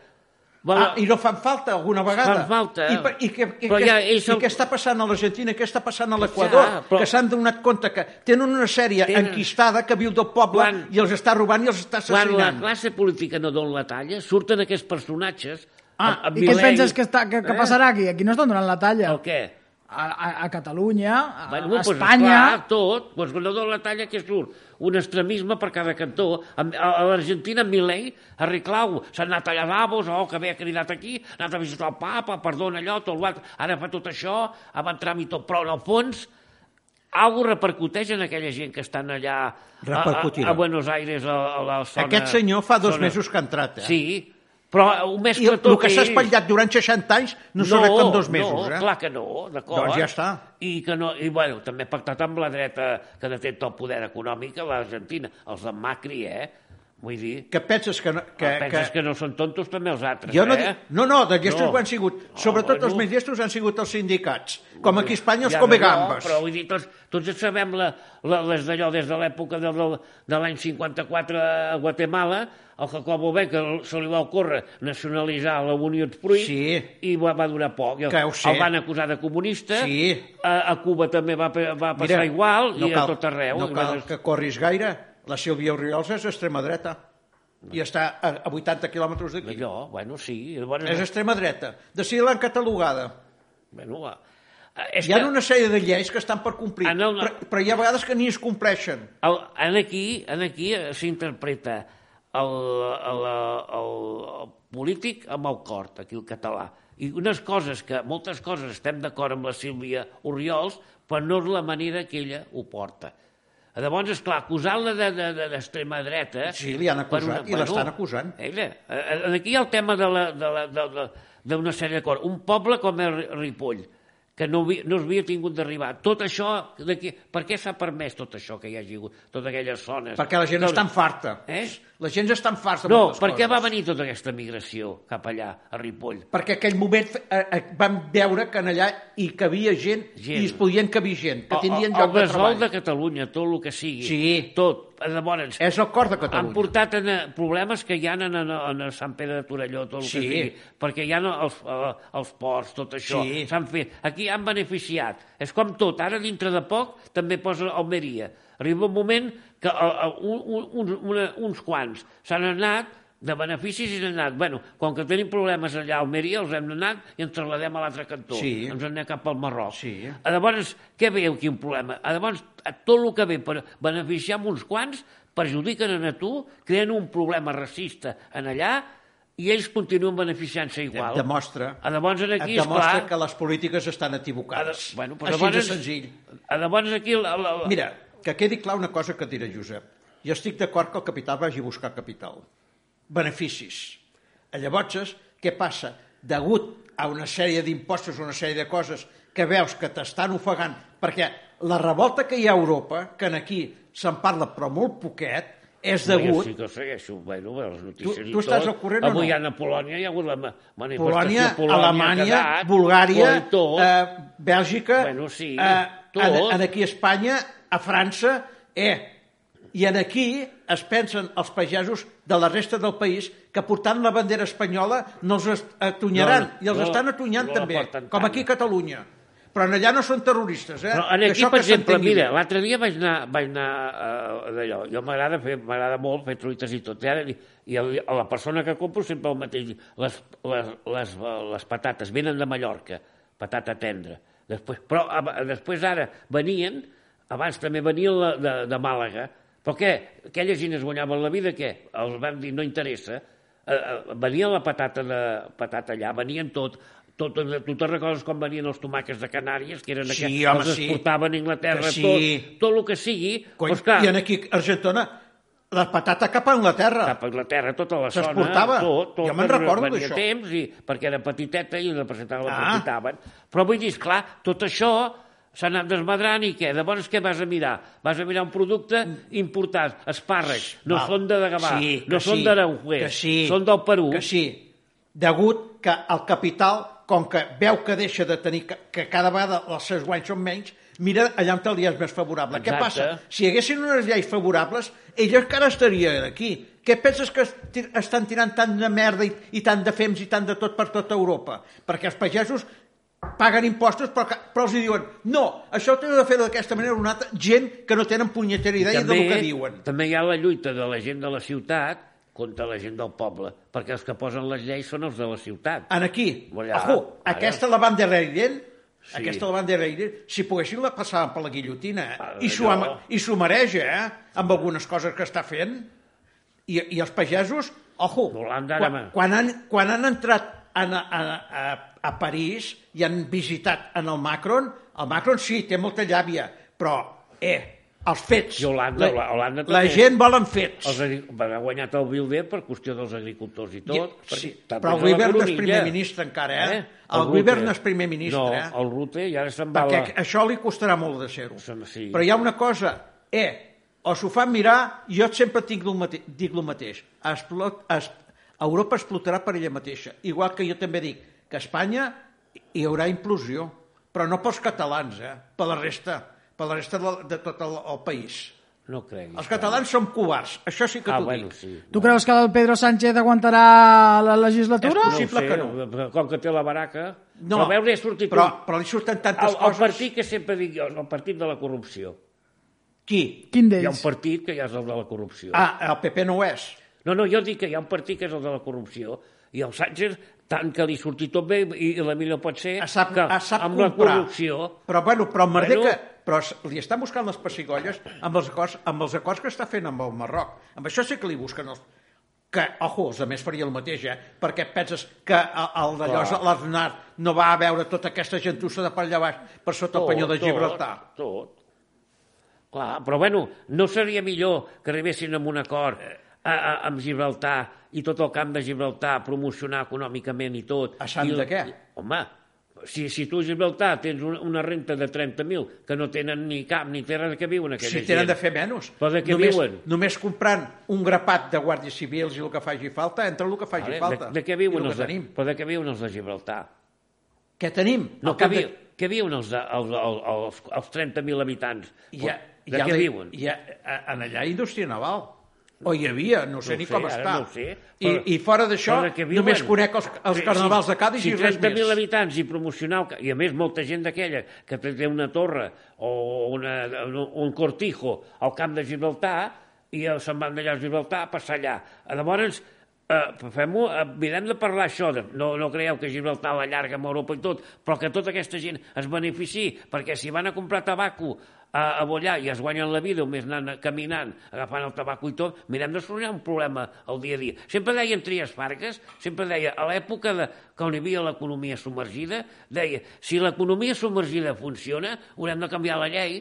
S2: Volen,
S1: Ah, I no fan falta alguna vegada.
S2: Fan falta.
S1: I, per- i, que, i,
S2: Però
S1: que,
S2: ja
S1: i
S2: ells el-
S1: què està passant a l'Argentina, què està passant a l'Equador,
S2: Ja, però-
S1: que s'han donat compte que tenen una sèrie
S2: Tenen-
S1: enquistada que viu del poble
S2: Quan-
S1: i els està robant i els està
S2: quan la
S1: assassinant.
S2: classe política no dona la talla, surten aquests personatges...
S1: Ah,
S2: amb
S3: I què et
S2: Milei,
S3: penses que, està, que, que passarà aquí? Aquí no estan donant la talla.
S2: Eh? El què?
S3: A, a, a Catalunya, a,
S2: Bueno,
S3: a
S2: pues,
S3: Espanya...
S2: Clar, tot. Pues, no dona la talla que surt. Un extremisme per cada cantó. A, a, a l'Argentina, Milei, arreglau. S'ha anat a Davos, oh, que bé ha cridat aquí, ha anat a visitar el papa, perdona allò, tot l'altre. Ara fa tot això, amb en tràmit tot. Però, en el fons, algú repercuteix en aquella gent que estan allà a- a,
S1: Repercutirà.
S2: a, Buenos Aires, a, a la zona...
S1: Aquest senyor fa dos
S2: zona...
S1: mesos que ha entrat, eh?
S2: Sí, però ho més
S1: I
S2: que
S1: el
S2: tot
S1: que s'ha
S2: és-
S1: espatllat durant 60 anys no, s'arregla en dos mesos,
S2: no,
S1: eh?
S2: clar que no, d'acord.
S1: Doncs ja està.
S2: I, que no, i bueno, també pactat amb la dreta que detenta el poder econòmic a l'Argentina, els de Macri, eh? Vull dir,
S1: Que penses que... No,
S2: que,
S1: que,
S2: Ah, penses que... no són tontos també els altres,
S1: Jo no,
S2: eh?
S1: dic, no, no, de llestos
S2: No.
S1: no. han sigut.
S2: Ah,
S1: Sobretot
S2: bueno.
S1: els més llestos han sigut els sindicats. Com aquí a Espanya els
S2: Ja,
S1: ja, come
S2: no,
S1: gambes.
S2: Però vull dir, tots, tots ja sabem la, la, les d'allò des de l'època de, de, de l'any 54 a Guatemala, el Jacobo Becker se li va ocórrer nacionalitzar la Unió Fruit
S1: Sí.
S2: i va, va durar poc. El,
S1: Que ho sé.
S2: el van acusar de comunista.
S1: Sí.
S2: A, a Cuba també va, pe- va passar Mira, igual i a tot arreu.
S1: No
S2: I
S1: cal
S2: van-
S1: que corris gaire. La Sílvia Oriols és extrema dreta. I està a, a 80 quilòmetres d'aquí.
S2: Allò, bueno, sí. Llavors,
S1: És extrema dreta. De si l'han catalogada.
S2: bueno, va. Eh, és
S1: Hi ha
S2: que-
S1: una sèrie de lleis que estan per complir,
S2: En el-
S1: però, però hi ha vegades que ni es compleixen.
S2: El, en aquí, en aquí eh, s'interpreta el, el, el, el polític amb el cor, aquí el català. I unes coses que, moltes coses, estem d'acord amb la Sílvia Oriols, però no és la manera que ella ho porta. Llavors, esclar, acusant-la d'extrema de, de, d'extrema dreta...
S1: Sí, li han
S2: per
S1: acusat i l'estan acusant.
S2: Ella, eh, eh, aquí hi ha el tema de la- de la- de- de- d'una sèrie de coses. Un poble com el Ri- Ripoll, que no, havia, no havia tingut d'arribar. Tot això, d'aquí, per què s'ha permès tot això que hi hagi hagut, totes aquelles zones?
S1: Perquè la gent
S2: Doncs-
S1: està en farta.
S2: Eh?
S1: La gent està en farta. de
S2: No,
S1: moltes
S2: per què
S1: coses.
S2: va venir tota aquesta migració cap allà, a Ripoll?
S1: perquè aquell moment eh, eh, vam veure que en allà hi cabia gent,
S2: Gent.
S1: gent. i es podien cabir gent, que tindrien
S2: el, el,
S1: lloc de
S2: besol
S1: treball.
S2: de Catalunya, tot el que sigui.
S1: Sí.
S2: Tot. Llavors,
S1: És el cor de
S2: han
S1: Catalunya.
S2: portat en, eh, problemes que hi ha en, en, en Sant Pere de Torelló, tot el
S1: Sí.
S2: que sigui, perquè hi ha els, eh, els ports, tot això,
S1: Sí.
S2: s'han fet. Aquí han beneficiat. És com tot, ara dintre de poc també posa Almeria. Arriba un moment que eh, un, un, un, una, uns quants s'han anat de beneficis i s'han anat. Bueno, com que tenim problemes allà a Almeria, els hem anat i ens trasladem a l'altre cantó.
S1: Sí.
S2: Ens anem cap al Marroc.
S1: Sí.
S2: A Llavors, què veieu quin problema? A Llavors, a tot el que ve per beneficiar amb uns quants, perjudiquen en a tu, creen un problema racista en allà i ells continuen beneficiant-se igual.
S1: Demostra,
S2: A Llavors, en aquí,
S1: et demostra
S2: esclar...
S1: que les polítiques estan
S2: a la-
S1: equivocades.
S2: Bueno, però
S1: Així
S2: llavors,
S1: de senzill.
S2: A Llavors, aquí... La, la, la...
S1: Mira, que quedi clar una cosa que et diré, Josep. Jo estic d'acord que el capital vagi a buscar capital. Beneficis. Llavors, què passa? Degut a una sèrie d'impostos, una sèrie de coses que veus que t'estan ofegant, perquè la revolta que hi ha a Europa, que en aquí se'n parla però molt poquet, és
S2: Jo
S1: degut...
S2: sí que segueixo, bueno, bé, les notícies
S1: Tu-
S2: i
S1: tu estàs
S2: tot.
S1: al corrent o
S2: Avui
S1: no?
S2: a Polònia hi ha hagut la ma- manifestació.
S1: Polònia,
S2: Polònia,
S1: Alemanya,
S2: Quebec,
S1: Bulgària,
S2: i tot.
S1: eh, Bèlgica,
S2: Bueno, sí,
S1: eh,
S2: tot.
S1: en, en aquí a Espanya, a França, eh, i en aquí es pensen els pagesos de la resta del país que portant la bandera espanyola no els est- atonyaran,
S2: No,
S1: i els
S2: no,
S1: estan atonyant
S2: no la
S1: també,
S2: porten
S1: com
S2: tant.
S1: aquí a Catalunya. Però en allà no són terroristes, eh?
S2: Però en
S1: Que
S2: aquí,
S1: això
S2: per
S1: que
S2: exemple,
S1: s'entengui.
S2: mira, l'altre dia vaig anar, vaig anar eh, d'allò. Jo m'agrada fer, m'agrada molt fer truites i tot. I, ara, dic- i el, a la persona que compro sempre el mateix. diu, Les, les, les, les patates venen de Mallorca, patata tendra. Després, però a, després ara venien, abans també venien la, de, de Màlaga, però què? Aquella gent es guanyaven la vida, què? Els van dir, no interessa. Eh, eh, venia la patata, de, patata allà, venien tot, tot, tu te'n recordes quan venien els tomàquets de Canàries, que eren
S1: Sí,
S2: aquells,
S1: home,
S2: els
S1: sí.
S2: exportaven a Anglaterra,
S1: Que sí.
S2: tot, tot el que sigui,
S1: Coi,
S2: doncs clar,
S1: I en aquí, a Argentona, la patata cap a Anglaterra.
S2: cap a Anglaterra, tota la zona,
S1: S'exportava.
S2: tot, tot,
S1: Jo me'n
S2: venia-
S1: recordo
S2: venia
S1: d'això.
S2: temps, i, perquè era petiteta i la presentaven, la
S1: Ah.
S2: presentaven. Però vull dir, esclar, tot això s'ha anat desmadrant i què? De bones què vas a mirar? Vas a mirar un producte importat, espàrrecs, no
S1: Val.
S2: són de Gavà,
S1: Sí,
S2: no
S1: que
S2: són
S1: sí,
S2: d'Araujuez,
S1: que sí,
S2: són del Perú.
S1: Que sí, degut que el capital, com que veu que deixa de tenir, que, que cada vegada els seus guanys són menys, mira allà on li és més favorable.
S2: Exacte.
S1: Què passa? Si hi haguessin unes lleis favorables, ell encara estaria aquí. Què penses que esti- estan tirant tant de merda i, i tant de fems i tant de tot per tota Europa? Perquè els pagesos paguen impostos, però, que- però els hi diuen no, això ho teniu de fer d'aquesta manera o una altra, gent que no tenen punyetera idea del que diuen.
S2: També hi ha la lluita de la gent de la ciutat contra la gent del poble, perquè els que posen les lleis són els de la ciutat.
S1: En aquí.
S2: Allà,
S1: Ojo,
S2: ara.
S1: aquesta la van de Reirent,
S2: Sí.
S1: sí. aquesta la van de Reirent, si poguessin la passaven per la guillotina. Eh?
S2: Ah,
S1: I s'ho am-
S2: allò.
S1: I s'ho mereix, eh? Amb algunes coses que està fent. I, i els pagesos, ojo,
S2: Holanda,
S1: quan,
S2: ara.
S1: quan, han, quan han entrat en, a, a, a, a París i han visitat en el Macron, el Macron sí, té molta llàbia, però, eh, els fets.
S2: I Holanda,
S1: la,
S2: Holanda
S1: la
S2: també.
S1: gent volen fets.
S2: Els agri- van ha guanyat el Wilder per qüestió dels agricultors i tot.
S1: I-
S2: perquè
S1: sí,
S2: tant
S1: però el
S2: és a la
S1: Weber no és
S2: Coronilla.
S1: primer ministre encara, eh? El
S2: Rutte.
S1: Weber no és primer ministre,
S2: No,
S1: eh?
S2: el Rutte i ara se'n va...
S1: perquè
S2: la...
S1: això li costarà molt de ser-ho.
S2: Som- sí.
S1: Però hi ha una cosa, eh, o s'ho fan mirar, jo sempre tinc el mate dic el mateix, Explot, es, Europa explotarà per ella mateixa, igual que jo també dic que a Espanya hi haurà implosió, però no pels catalans, eh, per la resta, per la resta de, de tot el, el país.
S2: No creguis.
S1: Els catalans som covards, això sí que
S2: Ah,
S1: t'ho
S2: bueno,
S1: dic.
S2: sí.
S3: Tu creus que el Pedro Sánchez aguantarà la legislatura?
S1: És
S2: No ho
S1: possible
S2: sé,
S1: que no.
S2: però Com que té la baraca... No, però a veure, ha sortit...
S1: però,
S2: un-
S1: però li surten tantes
S2: el, el
S1: coses...
S2: partit que sempre dic jo, el partit de la corrupció.
S1: Qui?
S3: Quin
S2: Hi ha un
S3: d'ells?
S2: partit que ja és el de la corrupció.
S1: Ah, el PP no ho és.
S2: No, no, jo dic que hi ha un partit que és el de la corrupció i el Sánchez, tant que li surti tot bé i i la millor pot ser
S1: Es sap,
S2: que
S1: es sap
S2: amb
S1: comprar.
S2: la corrupció...
S1: Però, bueno, però el merder
S2: Bueno.
S1: que... Però es- li estan buscant les pessigolles amb els, acords, amb els acords que està fent amb el Marroc. Amb això sí que li busquen els... Que, ojo, els altres faria el mateix, eh? Perquè penses que el, el d'allò,
S2: Clar.
S1: l'Aznar, no va a veure tota aquesta gentussa de per allà baix, per sota el panyó de Gibraltar.
S2: Tot, tot. Clar, però bueno, no seria millor que arribessin amb un acord
S1: Eh.
S2: a, a, amb Gibraltar i tot el camp de Gibraltar promocionar econòmicament i tot.
S1: A sant
S2: I el-
S1: de què?
S2: Home, si, si tu a Gibraltar tens una, una renta de 30.000 que no tenen ni cap ni terra de que viuen aquella
S1: Si tenen
S2: gent.
S1: de fer menys.
S2: Però de què
S1: només,
S2: viuen?
S1: Només comprant un grapat de guàrdies civils i el que faci falta, entre el que faci
S2: Vale?
S1: falta.
S2: De, de què
S1: I
S2: viuen
S1: el
S2: els
S1: que
S2: de,
S1: tenim.
S2: però de què viuen els de Gibraltar?
S1: Què tenim? Al
S2: No, que,
S1: cap de-
S2: vi, que viuen els, de, els, els, els, els 30.000 habitants?
S1: Hi ha, hi
S2: de
S1: ha
S2: què
S1: la-
S2: viuen?
S1: Hi ha, a- en allà hi ha indústria naval. O hi havia, no sé
S2: No ho
S1: ni
S2: sé,
S1: com
S2: ara
S1: està.
S2: no ho sé,
S1: I,
S2: però-
S1: I fora d'això,
S2: Però de què viuen?
S1: només conec els, els
S2: Sí,
S1: carnavals de Cádiz
S2: si,
S1: i res
S2: Si 30.000
S1: més.
S2: habitants i promocionar... el ca- I a més, molta gent d'aquella que té té una torre o una, un cortijo al camp de Gibraltar i eh, se'n van d'allà a Gibraltar a passar allà. Eh, Llavors, eh, fem-ho, eh, mirem de parlar això, de, no, no creieu que Gibraltar la llarga amb Europa i tot, però que tota aquesta gent es benefici, perquè si van a comprar tabaco a, a bollar i es guanyen la vida, o més anant caminant, agafant el tabaco i tot, mirem de solucionar un problema al dia a dia. Sempre deien Trias Fargas, sempre deia, a l'època de, que on hi havia l'economia submergida, deia, si l'economia submergida funciona, haurem de canviar la llei.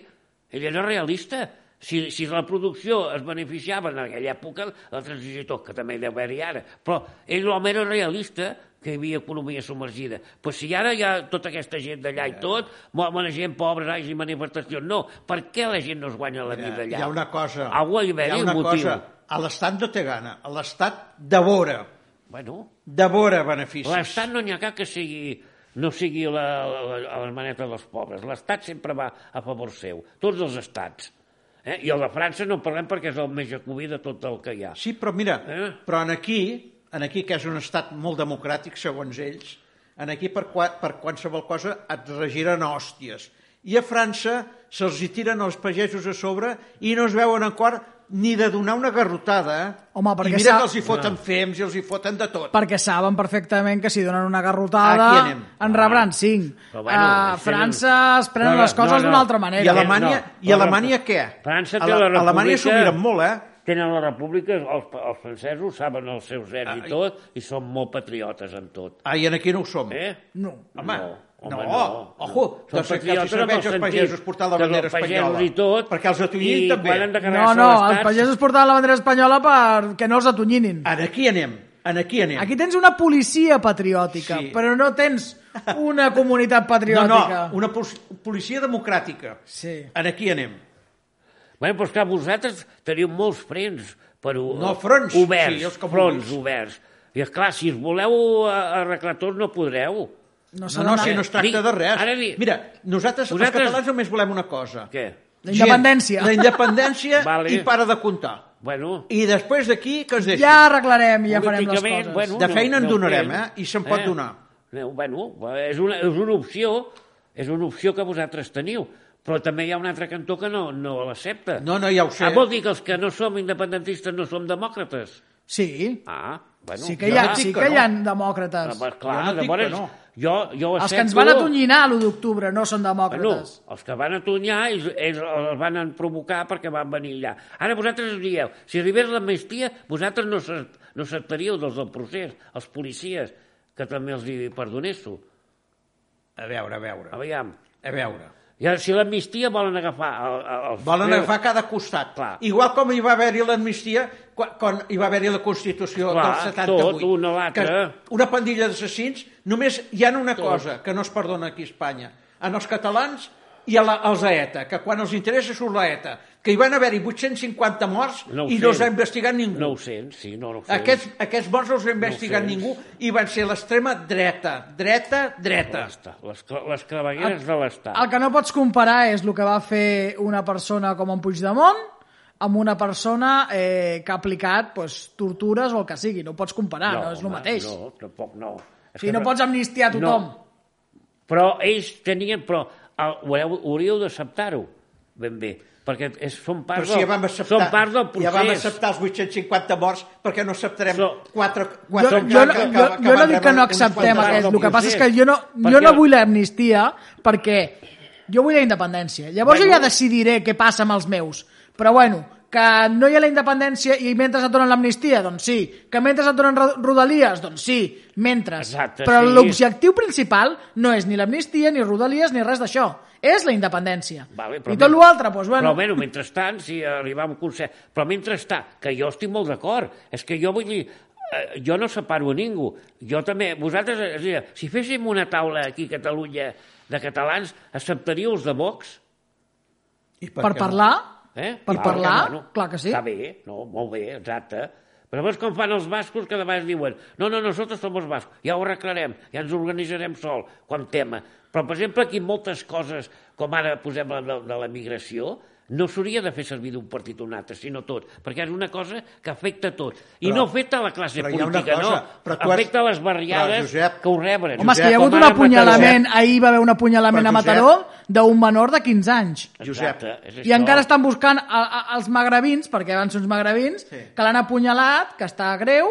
S2: Ell era realista. Si, si la producció es beneficiava en aquella època, la transició i tot, que també deu haver-hi ara, però ell l'home era realista, que hi havia economia submergida. Però si ara hi ha tota aquesta gent d'allà i tot, la gent pobres, ais i manifestacions, no. Per què la gent no es guanya la vida allà?
S1: Eh, Hi ha una cosa...
S2: Algú hi va
S1: hi ha
S2: haver
S1: una
S2: un motiu.
S1: cosa, a l'Estat no té gana, a l'Estat devora,
S2: Bueno,
S1: devora beneficis.
S2: l'estat no n'hi ha cap que sigui no sigui la, la, la, les manetes dels pobres. L'estat sempre va a favor seu, tots els estats. Eh? I el de França no en parlem perquè és el més jacobí de tot el que hi ha.
S1: Sí, però mira, eh?
S2: Eh?
S1: però en aquí, en aquí, que és un estat molt democràtic, segons ells, en aquí per, qua, per qualsevol cosa et regiren a hòsties. I a França se'ls hi tiren els pagesos a sobre i no es veuen en quart ni de donar una garrotada. eh?
S3: Home,
S1: I
S3: perquè
S1: mira
S3: s'ha-
S1: que els hi foten fems i els hi foten de tot.
S3: perquè saben perfectament que si donen una
S1: Aquí
S3: garrotada
S1: anem.
S3: en rebran cinc.
S2: Ah. Però
S3: Bueno,
S2: bueno,
S3: a
S2: això
S3: França es prenen
S2: No, no,
S3: les coses
S2: no, no.
S3: d'una altra manera.
S1: I Alemanya,
S2: No,
S1: i Alemanya què?
S2: França té
S1: Ale-
S2: la república...
S1: Alemanya s'ho miren molt, eh?
S2: Tenen la república, els, els francesos saben els seus drets i tot, i són molt patriotes en tot.
S1: Ah, i en aquí no ho som.
S2: Eh?
S3: No.
S1: Home,
S2: no,
S1: no,
S2: home,
S1: no.
S2: no.
S1: ojo,
S2: Són
S1: doncs que els
S2: patriotes en el
S1: serveix als
S2: sentit
S1: pagesos portar la
S2: que els
S1: bandera
S2: pagesos
S1: espanyola.
S2: i tot,
S1: Perquè els atonyin
S2: i
S1: també.
S2: quan han de
S3: No,
S2: carregar-se
S3: no,
S2: l'estat-
S3: els pagesos portaven la bandera espanyola perquè no els atonyinin.
S1: Ara aquí anem, en aquí anem.
S3: Aquí tens una policia patriòtica,
S1: Sí.
S3: però no tens una comunitat
S1: no, no,
S3: patriòtica.
S1: una pol- policia democràtica.
S3: Sí.
S1: En aquí anem.
S2: Bueno, però és que vosaltres teniu molts frens per
S1: No, fronts,
S2: oberts,
S1: sí, els que
S2: fronts
S1: vulguis.
S2: oberts. I és clar, si us voleu eh, arreglar tot, no podreu.
S3: No,
S1: No,
S3: s'ha
S1: no,
S3: d'anar.
S1: si no es tracta
S2: Dic-
S1: de res.
S2: ara dic-
S1: Mira, nosaltres,
S2: Vosaltres-
S1: els catalans, només volem una cosa.
S2: Què?
S3: La independència.
S1: Gent, la independència
S2: Vale.
S1: i para de comptar.
S2: Bueno,
S1: I després d'aquí, que es deixi?
S3: Ja arreglarem i ja farem les
S2: políticament,
S3: coses.
S1: De feina en donarem,
S2: fem.
S1: eh? I se'n pot donar.
S2: Aneu, Eh, Bueno, és una, és una opció, és una opció que vosaltres teniu, però també hi ha un altre cantó que no, no l'accepta.
S1: No, no, ja ho sé.
S2: Ah, vol dir que els que no som independentistes no som demòcrates?
S3: Sí,
S2: Ah, bueno.
S3: sí que
S2: jo
S3: hi ha,
S1: no
S2: dic
S3: sí
S1: que
S3: que hi ha
S2: Ah,
S3: demòcrates.
S2: però,
S1: Jo
S2: clar,
S1: no dic que
S2: llavors,
S1: no.
S2: jo, jo
S3: Els
S2: accepto...
S3: que ens van atonyinar a l'1 d'octubre no són
S1: Ah,
S2: Bueno,
S3: demòcrates.
S2: Ah, els que van atonyar, ells, ells els van provocar perquè van venir allà. Ara vosaltres us dieu, si arribés l'amnistia, vosaltres no, s'ac- no acceptaríeu dels del procés, els policies, que també els hi perdonéssiu.
S1: A veure, a veure,
S2: Aviam.
S1: a veure.
S2: I ara, si l'amnistia volen agafar... El, el, els
S1: Volen
S2: preus-
S1: agafar a cada costat.
S2: Clar.
S1: Igual com hi va haver-hi l'amnistia quan, quan hi va haver-hi la Constitució
S2: Clar,
S1: del 78.
S2: tot, un a l'altre.
S1: que Una pandilla d'assassins, només hi ha una cosa que no es perdona aquí a Espanya. En els catalans i a la, als ETA, que quan els interessa surt l'ETA, que hi van haver-hi 850 morts i no
S2: 900.
S1: els ha investigat ningú.
S2: 900, sí, no, 900.
S1: Aquests, aquests morts no els ha investigat
S2: 900.
S1: ningú i van ser l'extrema dreta, dreta, dreta.
S2: L'Estat, Les, cla- les clavegueres de l'Estat.
S3: El que no pots comparar és el que va fer una persona com en Puigdemont amb una persona eh, que ha aplicat pues, tortures o el que sigui. No ho pots comparar, no, no és el
S2: home,
S3: mateix. No.
S2: No, tampoc no. És
S3: O sigui,
S2: que
S3: no pots amnistiar a tothom.
S2: No. Però ells tenien... Però el, ho haureu- hauríeu d'acceptar-ho ben bé, perquè és, són part,
S1: Però si ja
S2: del,
S1: vam acceptar,
S2: són part del procés.
S1: ja vam acceptar els 850 morts, perquè no acceptarem so,
S2: So-
S1: quatre...
S3: Jo,
S1: quatre
S3: jo, no-
S1: que- que-
S3: jo,
S1: que
S3: jo no
S1: van
S3: dic que
S1: rebre
S3: no
S1: uns
S3: acceptem
S1: quants
S3: aquest,
S1: morts.
S3: el que passa és que
S2: procés.
S3: jo no, jo
S2: Perquè-
S3: no vull l'amnistia perquè jo vull la independència. Llavors
S2: Bueno.
S3: jo ja decidiré què passa amb els meus. Però bueno, que no hi ha la independència i mentre et donen l'amnistia, doncs sí. Que mentre et donen ro- rodalies, doncs sí. Mentre.
S2: Exacte,
S3: Però
S2: sí.
S3: l'objectiu principal no és ni l'amnistia, ni rodalies, ni res d'això. És la independència.
S2: Vale, però
S3: I tot
S2: men-
S3: l'altre, doncs bueno...
S2: Però bueno, mentrestant, si arribar a un consens... Però mentrestant, que jo estic molt d'acord. És que jo vull dir... eh, Jo no separo a ningú. Jo també... Vosaltres, és a dir, si féssim una taula aquí a Catalunya de catalans, acceptaríeu els de Vox?
S1: I
S3: Per,
S1: què no?
S3: parlar...
S2: Eh?
S3: Per
S2: Clar,
S3: parlar,
S2: que no.
S3: clar que sí.
S2: Està bé, no, molt bé, exacte. Però llavors com fan els bascos que de vegades diuen no, no, nosaltres som els bascos, ja ho arreglarem, ja ens organitzarem sol, com tema. Però, per exemple, aquí moltes coses, com ara posem la de, de la migració, no s'hauria de fer servir d'un partit o un altre, sinó tot, perquè és una cosa que afecta a tot. I
S1: Però-
S2: no afecta a la classe
S1: però hi ha una
S2: política,
S1: cosa,
S2: no.
S1: però tu has-
S2: Afecta a les
S1: Però,
S2: barriades
S1: Josep,
S2: que ho reben.
S3: Home, és que hi ha
S2: Com
S3: hagut un
S2: ara a Mataró.
S3: apunyalament, ahir va haver un apunyalament
S1: Però,
S3: a
S1: Josep-
S3: Mataró d'un menor de 15 anys.
S1: Josep,
S2: Exacte, és
S3: I
S2: això.
S3: encara estan buscant a, a, els magrebins, perquè van ser uns magrebins,
S1: Sí.
S3: que l'han apunyalat, que està greu,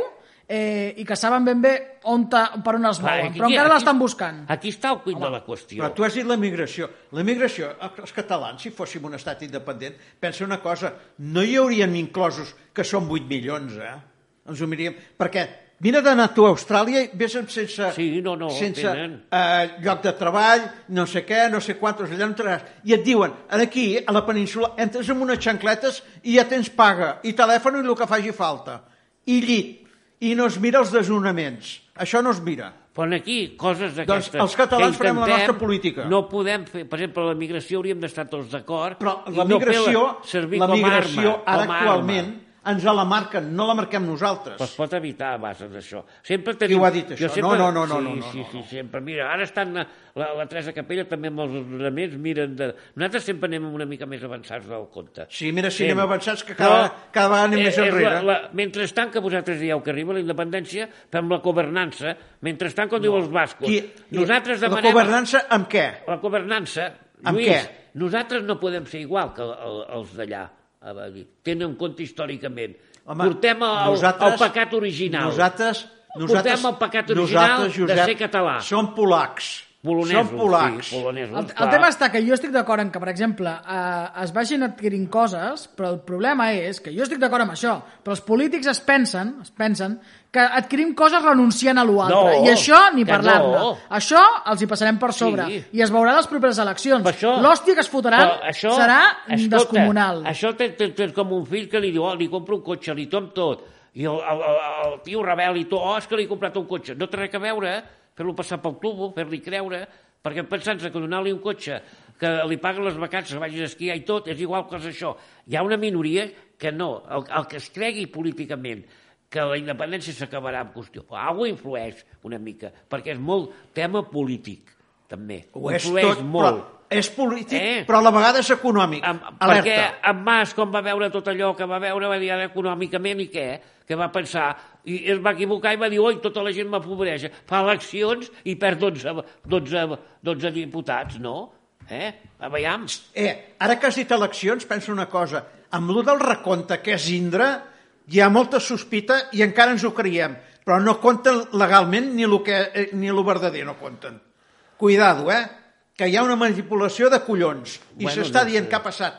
S3: eh, i que saben ben bé on ta, per on es
S2: Clar,
S3: mouen.
S2: aquí-
S3: Però encara
S2: aquí-
S3: l'estan buscant.
S2: Aquí està el cuit de la qüestió.
S1: Però tu has dit la migració. La migració, els catalans, si fóssim un estat independent, pensa una cosa, no hi haurien inclosos que són 8 milions, eh? Ens ho miríem. Perquè mira d'anar tu a Austràlia i vés amb sense,
S2: Sí, no, no,
S1: sense
S2: tenen.
S1: eh, lloc de treball, no sé què, no sé quantos, allà no entraràs. I et diuen, aquí, a la península, entres amb unes xancletes i ja tens paga, i telèfon i el que faci falta, i llit, i no es mira els desnonaments. Això no es mira.
S2: Però aquí, coses
S1: Doncs
S2: d'aquestes...
S1: els catalans
S2: que
S1: farem la
S2: intentem,
S1: nostra política.
S2: No podem fer... Per exemple, la migració hauríem d'estar tots d'acord.
S1: Però
S2: i
S1: la migració,
S2: No fer-la servir
S1: la
S2: com a
S1: migració
S2: arma,
S1: ara
S2: com a
S1: actualment
S2: Arma.
S1: ens la marquen, no la marquem nosaltres.
S2: Però es pot evitar a base d'això. Sempre tenim...
S1: ho ha dit,
S2: jo
S1: això? No, no, no, no, no,
S2: sí,
S1: no,
S2: sí,
S1: no,
S2: sí, sempre. Mira, ara estan la, la, la Teresa Capella també amb els ordenaments, miren de... Nosaltres sempre anem una mica més avançats del compte.
S1: Sí, mira si anem
S2: Sempre.
S1: avançats que cada- cada vegada anem
S2: és-
S1: més
S2: és
S1: enrere.
S2: La, la, mentrestant que vosaltres dieu que arriba la independència, fem la governança, mentrestant com no. diu els bascos.
S1: Qui-
S2: nosaltres
S1: la
S2: demanem...
S1: governança amb què?
S2: La governança,
S1: Amb
S2: Lluís,
S1: què?
S2: nosaltres no podem ser igual que el- el- els d'allà. a dir, Tenen en compte històricament.
S1: Home,
S2: Portem el,
S1: nosaltres-
S2: el pecat original.
S1: Nosaltres, nosaltres,
S2: Portem el pecat original
S1: nosaltres, Josep,
S2: de ser català.
S1: Som polacs.
S2: Polonesos,
S1: som polacs.
S2: Sí, polonesos,
S3: El,
S2: clar.
S3: el tema està que jo estic d'acord en que, per exemple, eh, es vagin adquirint coses, però el problema és que jo estic d'acord amb això, però els polítics es pensen, es pensen que adquirim coses renunciant a l'altre,
S2: No,
S3: i això ni
S2: que
S3: parlar-ne.
S2: no.
S3: Això els hi passarem per sobre,
S2: Sí.
S3: i es veurà a les properes eleccions.
S2: Per això-
S3: L'hòstia que es fotran
S2: però això-
S3: serà
S2: escolta,
S3: descomunal.
S2: Això té, té, té com un fill que li diu, oh, li compro un cotxe, li tom tot. I el, el, el, el tio rebel i tu, oh, és que li he comprat un cotxe. No té res a veure eh? fer-lo passar pel tubo, fer-li creure, perquè pensant-se que donar-li un cotxe que li paguen les vacances, vagis a esquiar i tot, és igual que és això. Hi ha una minoria que no. El, el que es cregui políticament que la independència s'acabarà amb qüestió. Algú influeix una mica, perquè és molt tema polític, també.
S1: Ho és
S2: Influeix
S1: tot,
S2: molt.
S1: però és polític,
S2: Eh?
S1: però a la vegada és econòmic.
S2: Amb,
S1: Alerta.
S2: perquè en Mas, com va veure tot allò que va veure, va dir ara econòmicament i què? Que va pensar, i es va equivocar i va dir, oi, tota la gent m'apobreix. Fa eleccions i perd 12, 12, 12 diputats, no? Eh? A veiem.
S1: Eh, ara que has dit eleccions, penso una cosa. Amb lo del recompte, que és Indra, hi ha molta sospita i encara ens ho creiem. Però no compten legalment ni lo, que, eh, ni lo verdader, no compten. Cuidado, eh? Que hi ha una manipulació de collons. I
S2: Bueno,
S1: bueno, s'està
S2: no
S1: dient
S2: sé.
S1: que ha passat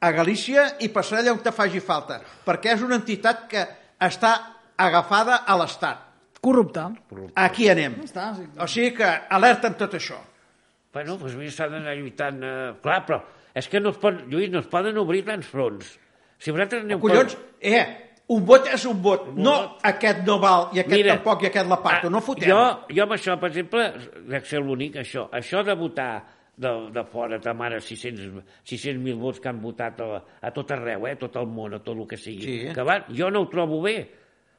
S1: a Galícia i passarà allà on te faci falta. Perquè és una entitat que està agafada a l'Estat.
S3: Corrupte.
S1: Aquí anem.
S3: Està, sí.
S1: O sigui que alerta amb tot això.
S2: Bueno, doncs mira, s'ha d'anar lluitant... Eh... Clar, però és que no es pot, Lluís, no es poden obrir tants fronts. Si vosaltres aneu...
S1: Collons, eh, un vot és un vot. No, aquest no val, i aquest
S2: Mira,
S1: tampoc, i aquest la parto.
S2: ah,
S1: no fotem.
S2: Jo, jo amb això, per exemple, dec ser l'únic, això. Això de votar de, de fora, ta mare, 600 600.000 vots que han votat a, a tot arreu, eh, a tot el món, a tot el que sigui.
S1: Sí.
S2: Que va, jo no ho trobo bé.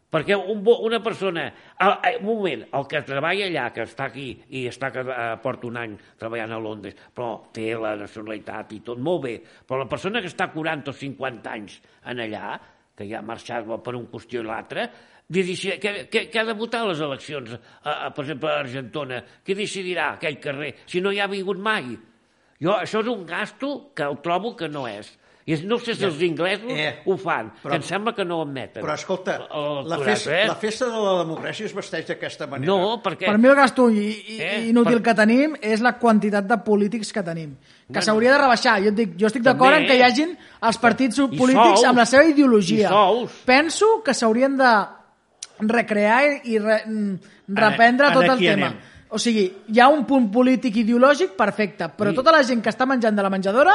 S2: Perquè un, vo- una persona... El, el, un moment, el que treballa allà, que està aquí i està que eh, porta un any treballant a Londres, però té la nacionalitat i tot molt bé, però la persona que està 40 o 50 anys en allà, que ja ha marxat per un qüestió i l'altre, que, que, que ha de votar a les eleccions, a, a, per exemple, a Argentona, què decidirà aquell carrer, si no hi ha vingut mai? Jo, això és un gasto que el trobo que no és. I és- no sé si els inglesos
S1: Eh,
S2: ho fan,
S1: però-
S2: que em sembla que no ho admeten.
S1: Però escolta,
S2: El-
S1: la
S2: el-
S1: festa,
S2: eh?
S1: la festa de la democràcia es vesteix d'aquesta manera.
S2: No, perquè...
S3: Per mi el gasto i, i,
S2: Eh,
S3: inútil
S2: per-
S3: per... que tenim és la quantitat de polítics que tenim, que s'hauria de rebaixar. Jo, et dic, jo estic d'acord
S2: També,
S3: en que hi hagin els partits
S2: I
S3: polítics
S2: sous.
S3: amb la seva ideologia.
S2: I sous.
S3: Penso que s'haurien de recrear i re, mm,
S1: Ara-
S3: reprendre
S1: ara
S3: tot el
S1: aquí
S3: tema.
S1: anem.
S3: O sigui, hi ha un punt polític ideològic perfecte, però tota la gent que està menjant de la menjadora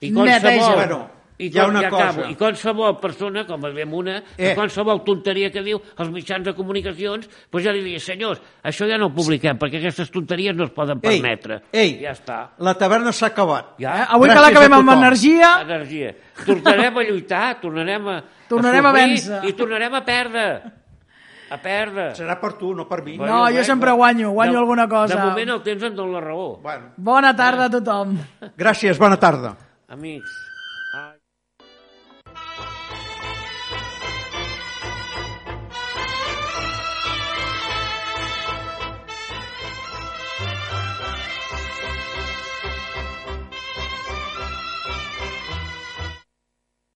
S2: I qualsevol,
S3: neteja.
S1: Bueno,
S2: i
S1: hi ha
S2: com-
S1: una
S2: ja acabo,
S1: cosa.
S2: I qualsevol persona, com en veiem una, eh.
S1: Eh.
S2: qualsevol tonteria que diu als mitjans de comunicacions, doncs ja li diria, senyors, això ja no ho publiquem, perquè aquestes tonteries no es poden
S1: ei,
S2: permetre.
S1: ei,
S2: Ja està.
S1: la taverna s'ha acabat.
S2: Ja.
S3: Eh, avui que
S1: Gràcies
S3: l'acabem
S1: a
S3: amb
S1: tothom.
S3: energia...
S2: Energia. Tornarem a lluitar, tornarem a...
S3: Tornarem a
S2: sofrir
S3: vèncer.
S2: I tornarem a perdre. A perdre.
S1: Serà per tu, no per mi.
S3: No, jo sempre guanyo, guanyo
S2: de,
S3: alguna cosa.
S2: De moment el temps em dona la raó.
S1: Bueno,
S3: Bona tarda a tothom.
S1: gràcies, bona tarda.
S2: Amics. Ai.